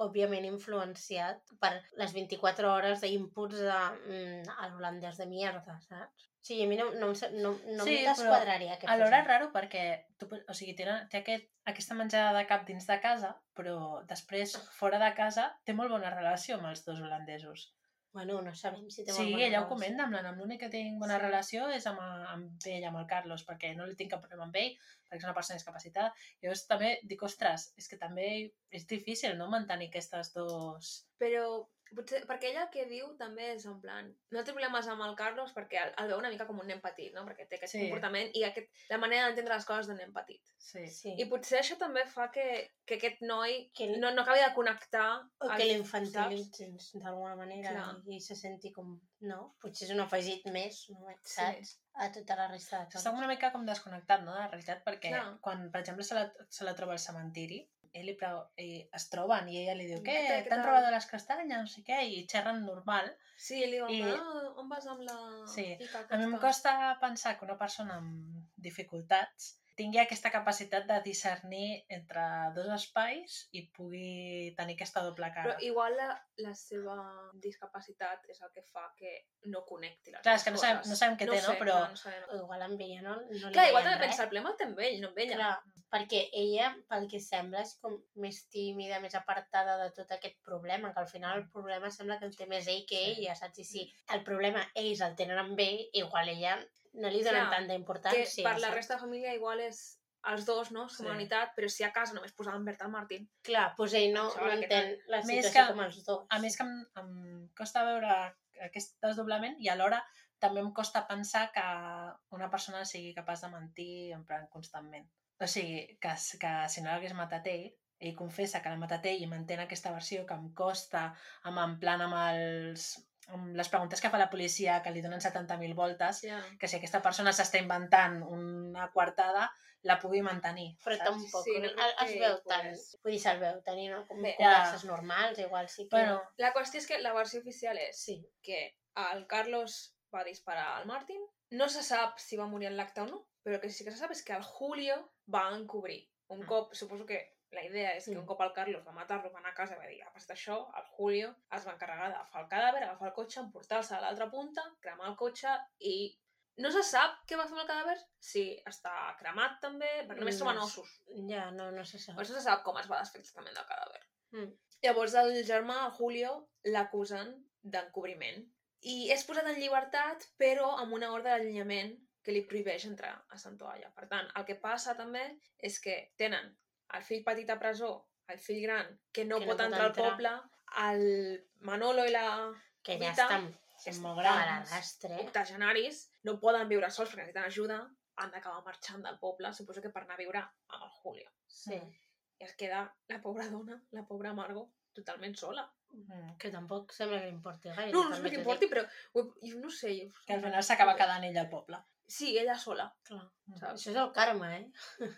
[SPEAKER 2] òbviament influenciat per les 24 hores d'inputs de mm, a l'holandès de mierda, saps? O sigui, a mi no, no, em se- no, no sí,
[SPEAKER 3] Sí,
[SPEAKER 2] em
[SPEAKER 3] però
[SPEAKER 2] desquadraria que fos
[SPEAKER 3] Alhora és
[SPEAKER 2] ell.
[SPEAKER 3] raro perquè tu, pot- o sigui, té, té aquest, aquesta menjada de cap dins de casa, però després, fora de casa, té molt bona relació amb els dos holandesos.
[SPEAKER 2] Bueno, no sabem si té
[SPEAKER 3] Sí,
[SPEAKER 2] molt bona
[SPEAKER 3] ella ho
[SPEAKER 2] relació.
[SPEAKER 3] comenta, en plan, amb l'únic que tinc bona
[SPEAKER 2] Sí.
[SPEAKER 3] relació és amb, amb ell, amb el Carlos, perquè no li tinc cap problema amb ell, perquè és una persona discapacitada. Llavors també dic, ostres, és que també és difícil, no?, mantenir aquestes dos...
[SPEAKER 4] Però Potser, perquè ella el que diu també és en plan... No té problemes amb el Carlos perquè el, el veu una mica com un nen petit, no? Perquè té aquest
[SPEAKER 3] Sí.
[SPEAKER 4] sí. comportament i aquest, la manera d'entendre les coses d'un nen petit.
[SPEAKER 3] Sí.
[SPEAKER 2] Sí.
[SPEAKER 4] I potser això també fa que, que aquest noi
[SPEAKER 2] que, l-
[SPEAKER 4] no, no acabi de connectar...
[SPEAKER 2] o
[SPEAKER 4] al-
[SPEAKER 2] que l'infantilitzis d'alguna manera
[SPEAKER 4] Clar.
[SPEAKER 2] i, i se senti com... No? Potser és un afegit més, no? saps? A tota la resta de
[SPEAKER 3] Està
[SPEAKER 2] coses.
[SPEAKER 3] una mica com desconnectat, no?, de la realitat, perquè
[SPEAKER 4] Clar.
[SPEAKER 3] quan, per exemple, se la, se la troba al cementiri, ell li preu, eh, es troben i ella li diu,
[SPEAKER 4] Mm,
[SPEAKER 3] què,
[SPEAKER 4] què tal, què
[SPEAKER 3] t'han
[SPEAKER 4] tal?"
[SPEAKER 3] robat les castanyes, no sé què, i xerren normal.
[SPEAKER 4] Sí, i li diu,
[SPEAKER 3] I-
[SPEAKER 4] I... ah, on vas amb la...
[SPEAKER 3] Sí.
[SPEAKER 4] pica
[SPEAKER 3] A mi em
[SPEAKER 4] aquesta?"
[SPEAKER 3] costa pensar que una persona amb dificultats tingui aquesta capacitat de discernir entre dos espais i pugui tenir aquesta doble cara.
[SPEAKER 4] Però igual la, la seva discapacitat és el que fa que no connecti les
[SPEAKER 3] Clar,
[SPEAKER 4] dues
[SPEAKER 3] és que no
[SPEAKER 4] coses.
[SPEAKER 3] sabem- no sabem què té, no?
[SPEAKER 4] sé,
[SPEAKER 3] Però-
[SPEAKER 4] clar, no sabem.
[SPEAKER 2] O igual amb ella no, no li
[SPEAKER 4] Clar, igual
[SPEAKER 2] deien
[SPEAKER 4] també
[SPEAKER 2] res.
[SPEAKER 4] pensa, el problema el té amb ell, no amb ella.
[SPEAKER 2] Clar, perquè ella, pel que sembla, és com més tímida, més apartada de tot aquest problema, que al final el problema sembla que el té més ell que
[SPEAKER 3] Sí.
[SPEAKER 2] ella, saps? I si el problema ells el tenen amb ell, igual ella no li donen
[SPEAKER 4] Clar,
[SPEAKER 2] tanta
[SPEAKER 4] que
[SPEAKER 2] importància.
[SPEAKER 4] per la
[SPEAKER 2] saps?
[SPEAKER 4] resta de família igual és els dos, no?
[SPEAKER 3] Sí.
[SPEAKER 4] Com a unitat, però si a casa només posaven Bertal Martín.
[SPEAKER 2] Clar, doncs ell no,
[SPEAKER 4] Això,
[SPEAKER 2] no
[SPEAKER 4] la que
[SPEAKER 2] entén la
[SPEAKER 3] Més
[SPEAKER 2] situació
[SPEAKER 3] que-
[SPEAKER 2] com els dos.
[SPEAKER 3] A més que em, em costa veure aquest desdoblament i alhora també em costa pensar que una persona sigui capaç de mentir en plan constantment. O sigui, que, s- que si no l'hagués matat ell, ell confessa que l'ha matat ell i mantén aquesta versió que em costa amb, en plan amb, els, amb les preguntes que fa la policia que li donen 70.000 voltes,
[SPEAKER 4] Ja.
[SPEAKER 3] que si aquesta persona s'està inventant una coartada, la pugui mantenir.
[SPEAKER 2] però
[SPEAKER 3] saps?
[SPEAKER 2] tampoc,
[SPEAKER 4] Sí,
[SPEAKER 2] sí,
[SPEAKER 4] no
[SPEAKER 2] no
[SPEAKER 4] crec
[SPEAKER 2] es, es
[SPEAKER 4] que
[SPEAKER 2] veu
[SPEAKER 4] hi
[SPEAKER 2] tant,
[SPEAKER 4] pogués.
[SPEAKER 2] vull dir, se'l veu tenir no? com
[SPEAKER 4] Bé,
[SPEAKER 2] converses normals, igual sí que...
[SPEAKER 3] Bueno,
[SPEAKER 4] La qüestió és que la versió oficial és
[SPEAKER 2] sí,
[SPEAKER 4] que el Carlos va disparar al Martín. No se sap si va morir en l'acte o no, però que sí que se sap és que el Julio va encobrir. Un
[SPEAKER 3] Mm.
[SPEAKER 4] cop, suposo que la idea és que
[SPEAKER 2] Mm.
[SPEAKER 4] un cop el Carlos va matar-lo, va anar a casa i va dir, ha passat això, el Julio es va encarregar d'agafar el cadàver, agafar el cotxe, emportar-se a l'altra punta, cremar el cotxe i no se sap què va fer amb el cadàver, si està cremat també, perquè només
[SPEAKER 2] No
[SPEAKER 4] troben
[SPEAKER 2] sé.
[SPEAKER 4] ossos.
[SPEAKER 2] ja, no, no se sap.
[SPEAKER 4] Per això se sap com es va desfer exactament del cadàver.
[SPEAKER 2] Mm.
[SPEAKER 4] Llavors el germà, el Julio, l'acusen d'encobriment. I és posat en llibertat, però amb una ordre d'allunyament que li prohibeix entrar a Santoalla. Per tant, el que passa també és que tenen el fill petit a presó, el fill gran, que no, que pot, no entrar al poble, el Manolo i la
[SPEAKER 2] que ja
[SPEAKER 4] Rita,
[SPEAKER 2] estan
[SPEAKER 3] són molt
[SPEAKER 2] a la
[SPEAKER 3] grans.
[SPEAKER 2] lastre.
[SPEAKER 4] octogenaris no poden viure sols perquè necessiten ajuda, han d'acabar marxant del poble, suposo que per anar a viure amb el Julio.
[SPEAKER 2] Sí.
[SPEAKER 4] I es queda la pobra dona, la pobra Margo, totalment sola.
[SPEAKER 3] Mm.
[SPEAKER 2] Que tampoc sembla que li importi gaire.
[SPEAKER 4] No, no sé
[SPEAKER 2] també
[SPEAKER 4] què
[SPEAKER 2] t'ho
[SPEAKER 4] importi,
[SPEAKER 2] dic.
[SPEAKER 4] però ho- jo no sé. Jo...
[SPEAKER 3] Que al final s'acaba quedant ell al poble. Mm.
[SPEAKER 4] Sí, ella sola.
[SPEAKER 2] Clar.
[SPEAKER 4] Saps?
[SPEAKER 2] Això és el karma, eh?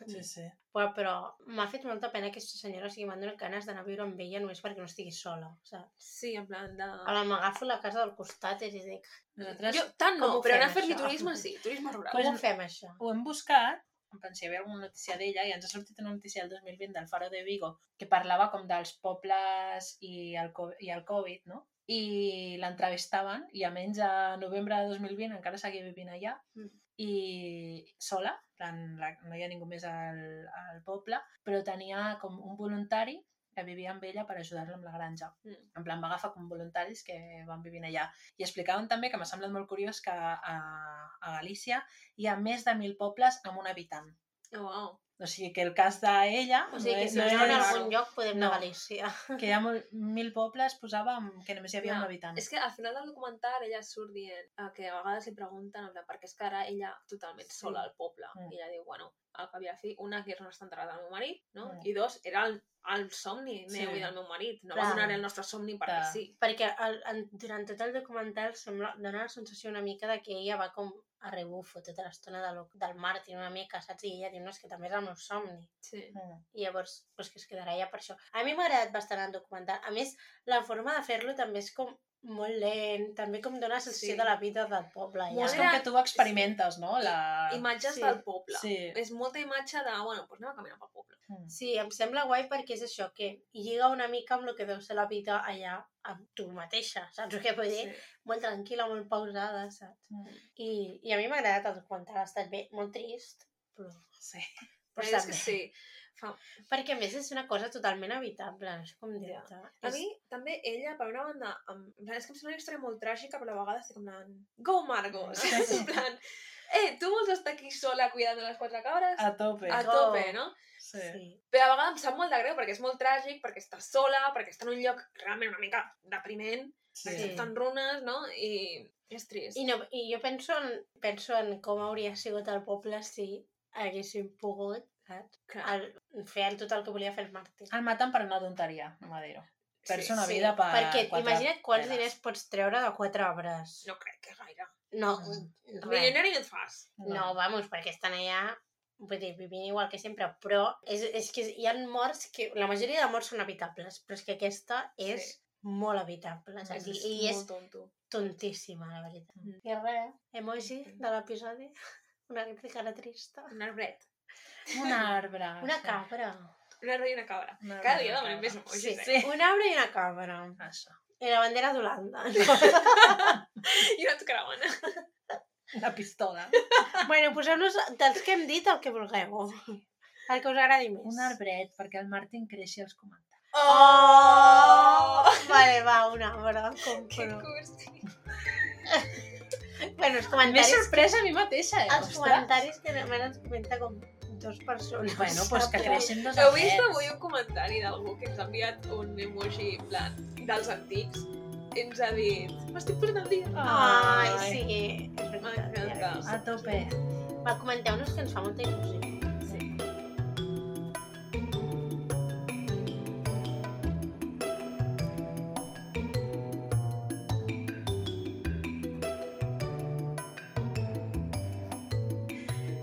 [SPEAKER 3] Sí, sí.
[SPEAKER 2] Però, però m'ha fet molta pena que aquesta senyora sigui m'han donat ganes d'anar a viure amb ella només perquè no estigui sola, saps?
[SPEAKER 4] Sí, en plan de...
[SPEAKER 2] Ara m'agafo la casa del costat i li dic,
[SPEAKER 3] Nosaltres
[SPEAKER 4] Jo tant
[SPEAKER 2] Com
[SPEAKER 4] no,
[SPEAKER 2] ho
[SPEAKER 4] però
[SPEAKER 2] fem,
[SPEAKER 4] anar a fer-li
[SPEAKER 2] això?
[SPEAKER 4] turisme sí, turisme rural.
[SPEAKER 3] Pues-
[SPEAKER 2] com ho fem això?
[SPEAKER 3] ho hem buscat, en plan, si hi havia alguna notícia d'ella, i ens ha sortit una notícia del 2020 del Faro de Vigo, que parlava com dels pobles i el, co- i el Covid, no? I l'entrevistaven, i a menys a novembre de 2020 encara seguia vivint allà,
[SPEAKER 2] Mm.
[SPEAKER 3] i sola, en plan, la- no hi ha ningú més al, al poble, però tenia com un voluntari que vivia amb ella per ajudar-la amb la granja.
[SPEAKER 4] Mm.
[SPEAKER 3] En plan, va agafar com voluntaris que van vivint allà. I explicaven també, que m'ha semblat molt curiós, que a, a Galícia hi ha més de mil pobles amb un habitant.
[SPEAKER 4] Oh, wow.
[SPEAKER 3] O sigui que el cas d'ella...
[SPEAKER 2] O sigui, que si
[SPEAKER 4] Eh, no
[SPEAKER 2] no
[SPEAKER 4] és-
[SPEAKER 2] anem a
[SPEAKER 4] no és-
[SPEAKER 2] algun lloc podem anar a
[SPEAKER 3] no.
[SPEAKER 2] Galícia.
[SPEAKER 3] que hi ha molt, mil pobles posava amb- que només hi havia
[SPEAKER 4] Ja,
[SPEAKER 3] un habitant.
[SPEAKER 4] És que al final del documental ella surt dient eh, que a vegades li pregunten en plan, per què és que ara ella totalment
[SPEAKER 3] Sí.
[SPEAKER 4] sola al poble.
[SPEAKER 3] Mm.
[SPEAKER 4] I ella diu, bueno, al cap i a la fi, una, que és on està enterrat el meu marit, no?
[SPEAKER 3] Mm.
[SPEAKER 4] I dos, era el, el somni meu
[SPEAKER 3] Sí.
[SPEAKER 4] i del meu marit. No
[SPEAKER 2] Clar.
[SPEAKER 4] va donar el nostre somni perquè
[SPEAKER 3] Clar.
[SPEAKER 4] sí.
[SPEAKER 2] Perquè el, en, durant tot el documental sembla, dona la sensació una mica de que ella va com a rebufo tota l'estona de lo- del Martin una mica, saps? I ella diu, no, és que també és el meu somni.
[SPEAKER 4] Sí.
[SPEAKER 3] Mm.
[SPEAKER 2] I llavors, doncs que es quedarà ja per això. A mi m'ha agradat bastant el documental. A més, la forma de fer-lo també és com molt lent, també com dona la sensació
[SPEAKER 4] Sí.
[SPEAKER 2] sí. de la vida del poble.
[SPEAKER 3] I
[SPEAKER 2] Ja.
[SPEAKER 3] és
[SPEAKER 4] Molt
[SPEAKER 3] com que tu ho experimentes, no? La...
[SPEAKER 4] Imatges
[SPEAKER 2] sí.
[SPEAKER 4] del poble.
[SPEAKER 3] Sí.
[SPEAKER 4] És molta imatge de, bueno, doncs anem a caminar pel poble.
[SPEAKER 3] Mm.
[SPEAKER 2] Sí, em sembla guai perquè és això, que lliga una mica amb el que deu ser la vida allà amb tu mateixa, saps què vull dir?
[SPEAKER 4] Sí.
[SPEAKER 2] Molt tranquil·la, molt pausada, saps?
[SPEAKER 3] Mm.
[SPEAKER 2] I, i a mi m'ha agradat el documental, ha estat bé, molt trist, però,
[SPEAKER 3] Sí.
[SPEAKER 4] Però
[SPEAKER 2] però
[SPEAKER 4] és
[SPEAKER 2] estat
[SPEAKER 4] que
[SPEAKER 2] bé.
[SPEAKER 4] sí.
[SPEAKER 2] Perquè a més és una cosa totalment evitable, no sé com dir-te.
[SPEAKER 4] A
[SPEAKER 2] És-
[SPEAKER 4] mi, també, ella, per una banda, em... en plan, és que em sembla una història molt tràgica, però a vegades té com anant... Go, Margo!
[SPEAKER 3] Mm.
[SPEAKER 4] Saps? En plan, eh, tu vols estar aquí sola cuidant de les quatre cabres?
[SPEAKER 3] A tope.
[SPEAKER 4] A tope, no?
[SPEAKER 3] Sí.
[SPEAKER 4] Però a vegades em sap molt de greu perquè és molt tràgic, perquè està sola, perquè està en un lloc realment una mica depriment,
[SPEAKER 3] sí.
[SPEAKER 4] perquè sí. estan runes, no? I és trist.
[SPEAKER 2] I, no, I jo penso en, penso en com hauria sigut el poble si haguéssim pogut saps?
[SPEAKER 4] Clar,
[SPEAKER 2] El, fer el, tot el que volia fer el Martí.
[SPEAKER 3] El maten per una tonteria, a Madero. Perds
[SPEAKER 4] Sí,
[SPEAKER 3] Ah, una vida per...
[SPEAKER 2] Perquè
[SPEAKER 3] quatre
[SPEAKER 2] imagina't quants
[SPEAKER 3] peles.
[SPEAKER 2] diners pots treure de quatre arbres.
[SPEAKER 4] no crec que gaire.
[SPEAKER 2] No,
[SPEAKER 3] Ah,
[SPEAKER 4] Res.
[SPEAKER 2] res.
[SPEAKER 4] Milionari no et fas.
[SPEAKER 2] No, vamos, perquè estan allà vull dir, vivint igual que sempre, però és, és que hi ha morts que... La majoria de morts són habitables, però és que aquesta és
[SPEAKER 4] Sí.
[SPEAKER 2] molt habitable. Saps? I, I és
[SPEAKER 4] molt tonto.
[SPEAKER 2] tontíssima, la veritat.
[SPEAKER 3] Mm.
[SPEAKER 2] I res, emoji de l'episodi. Una rèplica de trista.
[SPEAKER 4] Un arbret.
[SPEAKER 3] Un arbre.
[SPEAKER 2] Una
[SPEAKER 3] sí.
[SPEAKER 2] cabra.
[SPEAKER 4] Un arbre i una cabra.
[SPEAKER 3] Un arbre,
[SPEAKER 4] Cada
[SPEAKER 3] una
[SPEAKER 4] dia demanem
[SPEAKER 3] cabra.
[SPEAKER 4] més emojis,
[SPEAKER 3] Sí,
[SPEAKER 4] eh?
[SPEAKER 3] sí.
[SPEAKER 2] Un arbre i una cabra.
[SPEAKER 3] Això.
[SPEAKER 2] I la bandera d'Holanda.
[SPEAKER 4] I una tucaramana.
[SPEAKER 3] Una pistola.
[SPEAKER 2] bueno, poseu-nos dels que hem dit el que vulgueu. El que us agradi més.
[SPEAKER 3] Un arbret perquè el Martin creixi als comentaris.
[SPEAKER 2] Oh! Vale, va, un arbre.
[SPEAKER 4] Que
[SPEAKER 2] Compro.
[SPEAKER 4] cursi.
[SPEAKER 2] Bueno, els
[SPEAKER 3] M'he
[SPEAKER 2] comentaris...
[SPEAKER 3] sorpresa a mi mateixa, eh?
[SPEAKER 2] Els
[SPEAKER 3] Ostres.
[SPEAKER 2] comentaris que només ens comenta com dos persones.
[SPEAKER 3] Bueno, doncs pues que
[SPEAKER 2] Saps?
[SPEAKER 3] creixen dos
[SPEAKER 4] Heu vist
[SPEAKER 3] arbrets.
[SPEAKER 4] avui un comentari d'algú que ens ha enviat un emoji, en plan, dels antics? I ens ha dit, m'estic posant al dia.
[SPEAKER 2] Ai, sí. és veritat,
[SPEAKER 4] M'encanta.
[SPEAKER 2] ja he vist.
[SPEAKER 3] A tope.
[SPEAKER 2] Va, comenteu-nos que ens fa molta il·lusió.